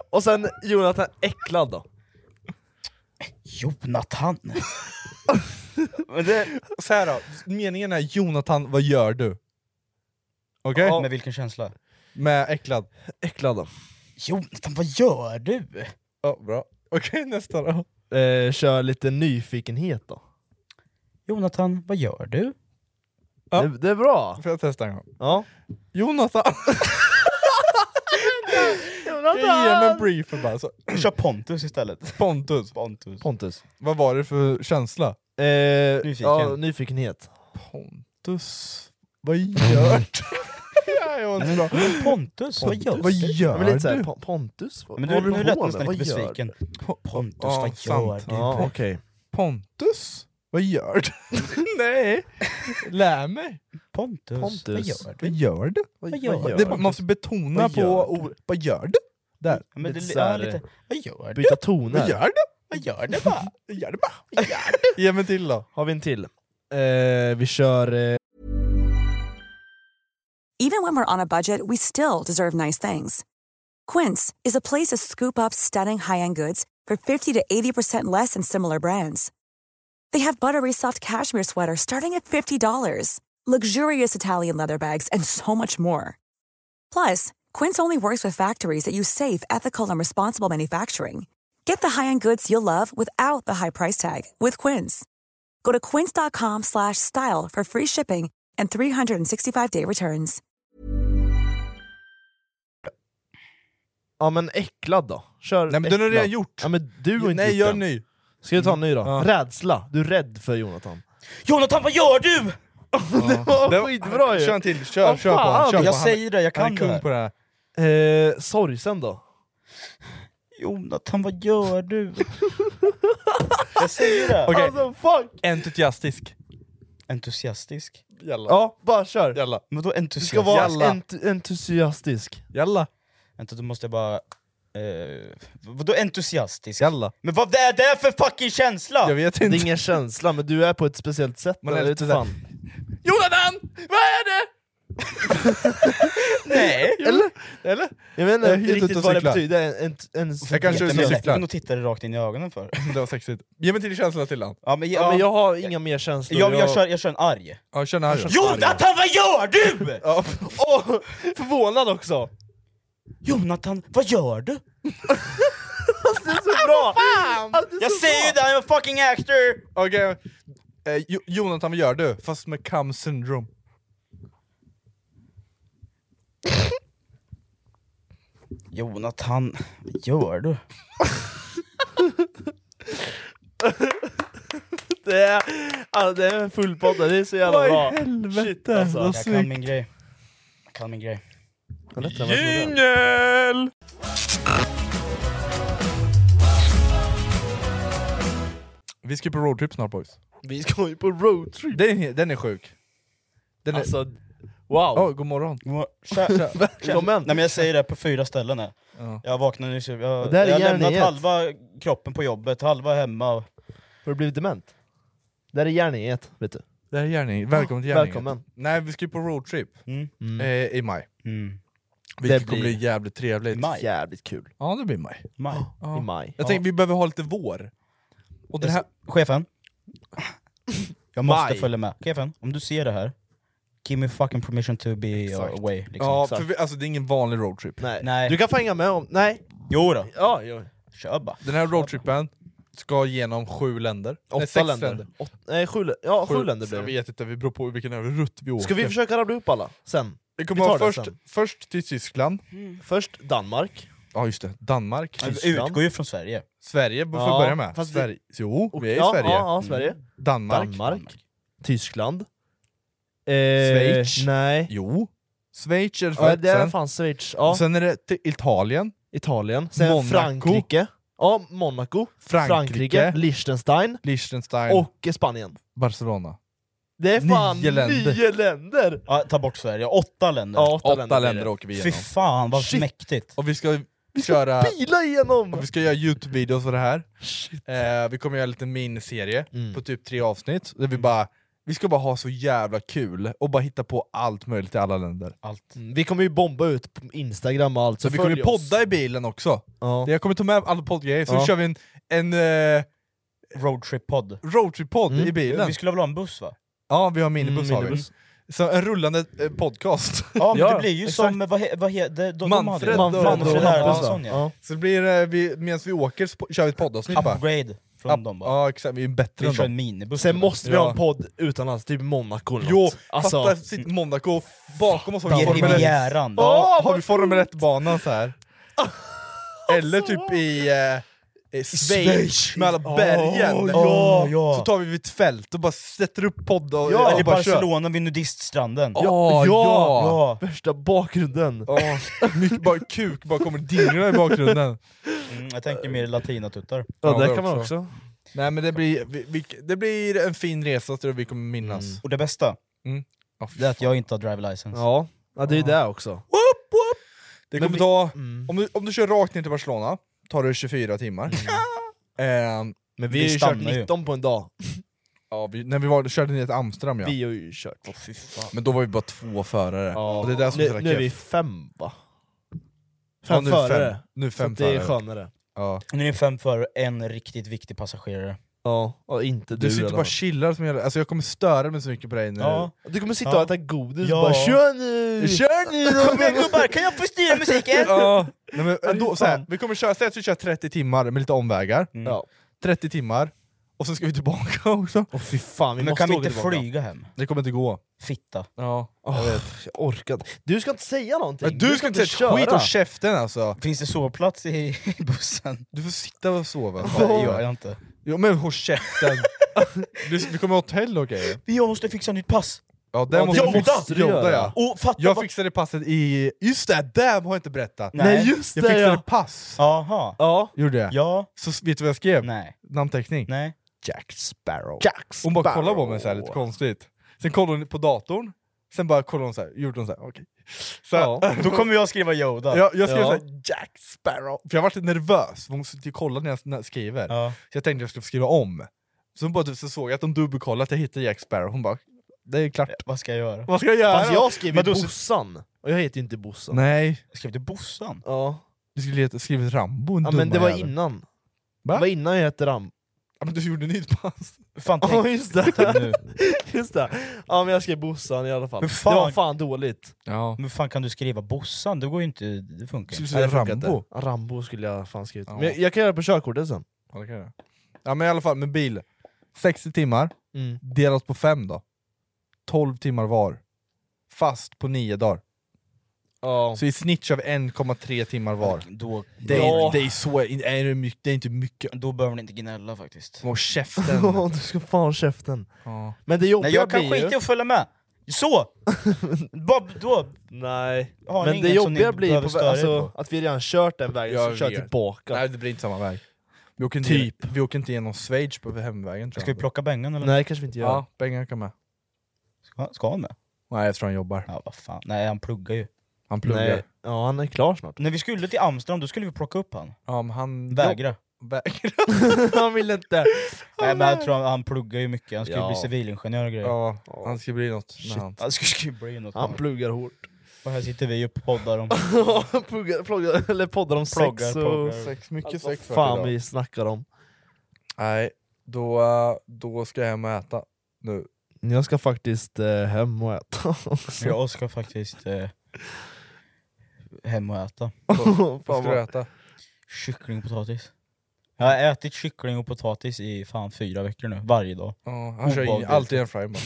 Och sen Jonathan äcklad då. Jonathan! Men det, Så här då, meningen är Jonathan, vad gör du? Okej? Med vilken känsla? Med äcklad. äcklad då. Jonathan, vad gör du? Ja, bra. Okej, nästa då. Eh, kör lite nyfikenhet då. Jonathan, vad gör du? Ja. Det, det är bra. Får jag testa en gång? Ja. Jonathan! Ge mig en briefer bara. Så. Kör Pontus istället. Pontus, Pontus. Pontus. vad var det för känsla? Eh, Nyfiken. Ja, nyfikenhet. Pontus, vad gör du? Nej, jag var inte bra. Pontus, vad gör Vad du? Ja, gör men lite såhär, du? Pon- Pontus, vad Men vad du, håller nu du lät på nästan med? lite Vad gör besviken. Po- Pontus, Ja, vad gör sant. du? Ja, okej. Pontus, vad gör du? Nej, lär mig. Pontus, vad Pontus. gör du? Vad gör du? Vad gör vad du? gör Det, du? man måste betona Vad gör på ord. Vad gör du? Där. Ja, men det, Lite ja, såhär, lite. Vad gör du? Byta Vad toner. gör du? Vad gör du bara? Vad gör du bara? Vad gör du? Ge mig till då. Har vi en till? Eh, vi kör... Eh, Even when we're on a budget, we still deserve nice things. Quince is a place to scoop up stunning high-end goods for 50 to 80% less than similar brands. They have buttery soft cashmere sweaters starting at $50, luxurious Italian leather bags, and so much more. Plus, Quince only works with factories that use safe, ethical, and responsible manufacturing. Get the high-end goods you'll love without the high price tag with Quince. Go to quince.com slash style for free shipping and 365-day returns. Ja men äcklad då. Kör Nej men den har äcklad. redan gjort. Ja men du har inte Nej, gjort gör den. ny. Ska du ta en ny då? Ja. Rädsla. Du är rädd för Jonathan. Jonathan vad gör du? det var skitbra ju! Kör en till, kör, kör på honom, kör på honom. Han är kung på det här. här. Eh, sorgsen då? Jonathan vad gör du? Jag säger det. Okej. Alltså fuck! Entusiastisk. Entusiastisk? Jalla. Ja, bara kör! Jalla. Men då Du entusiastisk? ska vara ent- entusiastisk. Jalla. Vänta, då måste jag bara... Eh, vadå entusiastisk? Jalla. Men vad är det för fucking känsla? Jag vet Det är inte. ingen känsla, men du är på ett speciellt sätt. Man eller? är Jag lite vet fan. Jonathan! Vad är det? Nej! Eller? Eller? Jag vet inte Jag är helt ute riktigt och vad eh, det typ cyklar. betyder. En, en, en, Jag kanske är ute och Jag cyklar. kan nog titta dig rakt in i ögonen för. Det var sexigt. Ge mig till känsla till han. Ja, men, ja, men jag har inga mer känslor. jag, jag, kör, jag kör en arg. Ja, kör när Jonathan vad gör du? Åh, förvånad också! Jonathan vad gör du? Det är så bra! Alltså, det är Jag så säger ju det, I'm a fucking actor! Okej. Eh, Jo- Jonathan, vad gör du? Fast med cum syndrome. Jonathan, vad gör du? bra. Det är, alltså, det är en full podd, det är så jävla bra. Shit alltså. Jag kan min grej. Jag kan min grej. Jingel! Vi ska på roadtrip snart boys. Vi ska ju på roadtrip. Den är, den är sjuk. Den är... Alltså, wow. Åh, god morgon. Tja, tja, tja. Välkommen. Nej, men jag säger det på fyra ställen här. Ja. Jag vaknade nyss, jag, jag det här är har järn i lämnat ett. halva kroppen på jobbet, halva hemma. Har du blivit dement? Det här är järnet, vet du. Det här är gärning. Välkommen till gärningen. Välkommen. Nej, vi ska ju på roadtrip Mm. eh, i maj. Mm. Vilket Det kommer blir- bli jävligt trevligt. Maj. Jävligt kul. Ja, det blir maj. Maj. Ja. I maj. Jag tänkte vi behöver ha lite vår. Och den här... Chefen. Jag måste Maj. följa med. Chefen, om du ser det här, give me fucking permission to be Exakt. away. Liksom. Ja, för vi, alltså det är ingen vanlig roadtrip. Nej. Nej. Du kan fan hänga med om... Nej. Jo då, Ja, jo. kör bara. Den här roadtripen ska genom sju länder. Nej, Åtta sex länder. Åt, nej, sju, lä- ja, sju, länder blir Jag det. vet inte, vi beror på vilken över rutt vi åker. Mm. Ska vi försöka rabbla upp alla sen? vi vi kommer tar ha det först, sen. först till Tyskland, Först Danmark. ja just det, Danmark, Men Vi Tyskland. utgår ju från Sverige. Sverige får Ja, börja med. fast vi- Sverige. Jo, vi är i ja, Sverige. Ja, ja, Sverige. Danmark. Danmark. Tyskland. Schweiz. Nej. Jo. Schweiz är det Ja, först. det är sen. fan Schweiz. Ja. Och sen är det till Italien, Italien. Sen Monaco. Frankrike. Ja, Monaco. Frankrike. Liechtenstein. Liechtenstein, Och Spanien. Barcelona. Det är fan nio Nio länder. länder. Ja, ta bort Sverige, åtta länder. Ja, åtta, Åtta länder, blir det. åker vi Fy igenom. fan vad Shit. mäktigt. Och vi ska köra... Bila igenom! Och vi ska göra Youtube-videos för det här. Eh, vi kommer göra en liten miniserie på typ tre avsnitt. Där vi, bara, vi ska bara ha så jävla kul och bara hitta på allt möjligt i alla länder. Allt. Mm, Vi kommer ju bomba ut på Instagram och allt, Så så vi kommer följ ju oss. podda i bilen också. Ja. Jag kommer ta med alla poddgrejer, så Ja. kör vi en, en eh, Roadtrip-podd. roadtrip-podd Mm. i bilen. Vi skulle väl ha en buss va? Ja, vi har minibuss. Mm, har vi. minibuss. Så en rullande eh, podcast. Ja, men Ja, det blir ju som, vad he- vad heter de, de Manfred hade- och- Manfred och- Hermansson ja. Ja. Så det blir eh, vi, medan vi åker så po- kör vi ett poddavsnitt bara. Upgrade från Up- dem bara. Ja exakt, vi är bättre Vi än kör dem. en minibuss. Sen måste vi Ja. ha en podd utomlands, typ Monaco eller Jo, något. Alltså, fatta sitt Monaco, bakom oss har Det vi är Formel 1. Rivieran. Ja, har vi Formel 1-banan så här. Eller typ i, eh, i Schweiz, med alla bergen. ja, ja. Så tar vi ett fält och bara sätter upp podd och, Ja, och eller bara kör. Barcelona vid nudiststranden. Ja, ja. ja. värsta bakgrunden. ja. Mycket bara kuk bara kommer dingra i bakgrunden. Mm, jag tänker mer latinatuttar. Ja, Ja, det där kan man också. också. Nej men det blir, vi, vi, det blir en fin resa tror jag vi kommer minnas. Mm. Och det bästa, det är att jag inte har driver license. Ja, ja det är ju det också. det men kommer vi- ta, Mm. om, du, om du kör rakt ner till Barcelona, tar det 24 timmar. Ehm, Men Vi vi har ju kört stannar ju. 19 på en dag. Ja, vi, när vi var, körde ner till Amsterdam ja. Vi har ju kört. Men då var vi bara två förare. Och det är det som är så nu, jävla nu är keff. vi fem va? Ja, Fem nu är vi förare. fem. Nu är så fem att det är förare. skönare. Ja. Nu är det fem förare och en riktigt viktig passagerare. Ja, och inte Du sitter bara och chillar som en jävla- alltså jag kommer störa mig så mycket på dig nu. Ja. Du kommer sitta Ja. och äta godis Ja. och bara 'Kör nu! Kör nu då! Kom igen gubbar, kan jag få styra musiken?' ja. Nej, men ändå, så här, vi kommer köra, säg att vi kör 30 timmar med lite omvägar. Ja. 30 timmar, och sen ska vi tillbaka också. Oh, fy fan, vi Men måste kan vi åka inte tillbaka. flyga hem? Det kommer inte gå. Fitta. Ja, jag vet. Jag orkar inte. Du ska inte säga någonting. Men du ska inte säga ett skit om käften alltså! Finns det sovplats i i bussen? Du får sitta och sova. Nej, det gör jag inte. Jo men håll käften! du, du kommer ha hotell och grejer. Jag måste fixa nytt pass! Ja, det Ja, måste det du måste fixa. du göra. Jodda, ja. Och fatta jag vad- fixade passet i... Just det, det har jag inte berättat! Nej, just jag det, fixade ja. pass! Jaha. Ja. Gjorde jag? Ja. Så s- vet du vad jag skrev? Nej. Namnteckning? Nej. Jack Sparrow. Jack Hon bara kollade på mig så här lite konstigt. Sen kollade hon på datorn, sen bara kollade hon så här, gjorde hon så här, okej. Så här- Ja. Då kommer jag skriva Yoda. Ja, jag skrev Ja. så här, Jack Sparrow. För jag var lite nervös, för hon sitter ju och kollar när jag, när jag skriver. Så jag tänkte jag skulle skriva om. Så, hon bara, typ så såg jag att de dubbelkollade att jag hittade Jack Sparrow, hon bara det är klart. Eh, Vad ska jag göra? Vad ska jag göra? Fast jag skrev ju Men då- Bossan, och jag heter ju inte Bossan. Nej. Skrev du Bossan? Ja. Du skulle heta- skrivit Rambo, Ja, men det var innan. Va? Det var innan jag hette Rambo. Ja, men du gjorde nytt pass. Fan, Ja tänk- just tänk det. nu. just det. Ja men jag skrev Bossan i alla fall. Men fan- Det var fan dåligt. Ja. Men fan kan du skriva Bossan? Det går ju inte, det funkar Skulle inte. du säga Rambo? Ja, Rambo skulle jag fan skrivit. Ja. Men jag, jag kan göra det på körkortet sen. Ja, det kan jag. ja men i alla fall med bil. 60 timmar, Mm. delat på 5 då. 12 timmar var. Fast på 9 dagar. Ja. Så i snitt kör vi 1,3 timmar var. Då, Det är, det är, så, är det, mycket, det är inte mycket. då behöver ni inte gnälla faktiskt. Håll käften. Ja, du ska fan ha käften. Ja. Men det Nej, jobbiga jag kan blir skita i ju... att följa med! Så! Bob, då Nej. har ni Men det inget som ni jobbiga blir behöver på, störa er alltså, på. att vi redan kört den vägen, så Jag kör vet. tillbaka. Nej det blir inte samma väg. Vi åker inte, Typ. vi åker inte genom Schweiz på hemvägen tror Ska vi jag. plocka Bengan eller? Nej, kanske vi inte gör. Ja, Bengan kan med. Ska, ska han med? Nej jag tror han jobbar. Ja, vad fan. Nej, han pluggar ju. Han pluggar. Nej. Ja, han är klar snart. När vi skulle till Amsterdam då skulle vi plocka upp han. Ja, men han Vägra. Vägra. han vill inte. Nej, men jag tror han, han pluggar ju mycket, han skulle Ja. bli civilingenjör och grejer. Ja, han ska bli något. när han- Han skulle skulle bli något. Han pluggar hårt. Och här sitter vi och poddar om... pluggar, pluggar, eller poddar om Ploggar, sex och... ploggar. Sex, mycket Vad sex vart Alltså, fan idag. vi snackar om. Nej, då, eh, då ska jag hem och äta nu. Jag ska faktiskt eh, hem och äta också. Jag ska faktiskt eh, hem och äta. Vad Fan vad ska vad- du äta? Kyckling och potatis. Jag har ätit kyckling och potatis i fan fyra veckor nu, varje dag. Ja, han kör in, Obehagligt. alltid en frying pan.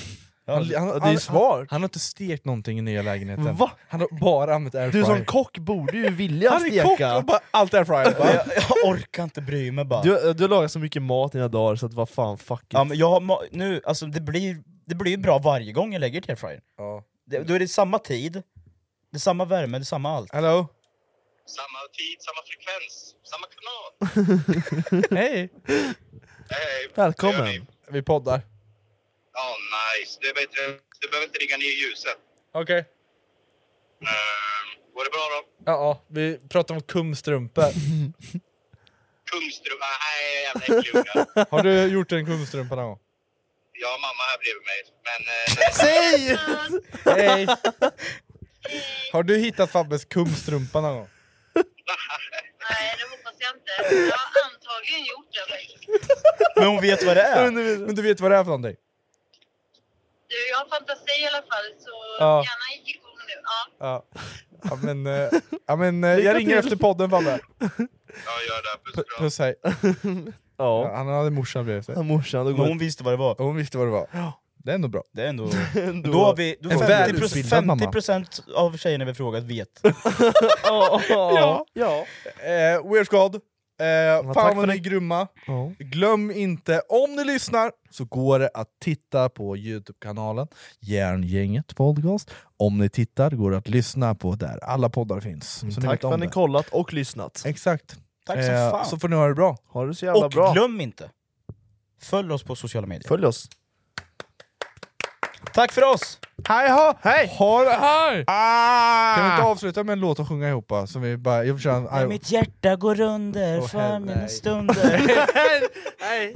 Han, han, han, det är han, smart. han har inte stekt någonting i nya lägenheten. Va? Han har bara använt Du som airfryer. kock borde ju vilja Han är kock steka. och bara allt airfryer. Jag, bara. jag orkar inte bry mig bara. Du, du har lagat så mycket mat i dina dagar så att vad fan, fuck it. Ja, men jag har, ma- nu, alltså, det blir det blir ju bra varje gång jag lägger till airfryern. Ja. Det- Då är det samma tid, det är samma värme, det är samma allt. Hello? Samma tid, samma frekvens, samma kanal. Hej! Hej! Hur gör ni? Välkommen! Vi poddar. Ja, Oh, nice. Det är bättre. Du behöver inte ringa ner ljuset. Okej. Ehm, går det bra då? Ja, ja, vi pratar om kumstrumpor. Kungstrumpa? Nej, jävla äcklig unge. har du gjort en kumstrumpa någon gång? Jag har mamma här bredvid mig. Men... Eh, Säg! Hej! har du hittat Fabbes kumstrumpa någon gång? Nej, det hoppas jag inte. Jag har antagligen gjort det. men- Men hon vet vad det är! Men du vet vad det är för någonting? Du, jag har fantasi i alla fall, så Ja. gärna gick igång nu. Ja. Ja, ja men, eh, ja, men eh, jag Lycka ringer till. efter podden Fabbe. jag gör det. Puss P- och kram. Puss hej. Ja, Ja, han hade morsan bredvid sig. ja. morsan, då Men går hon visste vad det var. Och hon visste vad det var. Det är ändå bra. Det är ändå... ändå. Då har vi... Då En 50%, välutbildad mamma. 50% av tjejerna vi frågat vet. Ja, ja. ja. Eh, Weird God. Eh, fan tack för vad ni är det. grymma. ja. Glöm inte, om ni lyssnar så går det att titta på Youtube-kanalen Järngänget podcast. Om ni tittar går det att lyssna på där alla poddar finns. Så Tack vet för om att ni det. kollat och lyssnat. Exakt. Tack så Eh, fan. så får ni ha det bra. Ha det så jävla Och bra. glöm inte, följ oss på sociala medier. Följ oss. Tack för oss! Hej ha! Hej! Ha det här! Ah! Kan vi inte avsluta med en låt och sjunga ihop? va? Som vi bara, jag vill köra en... Mitt hjärta går under Åh, för helvete. mina stunder Nej.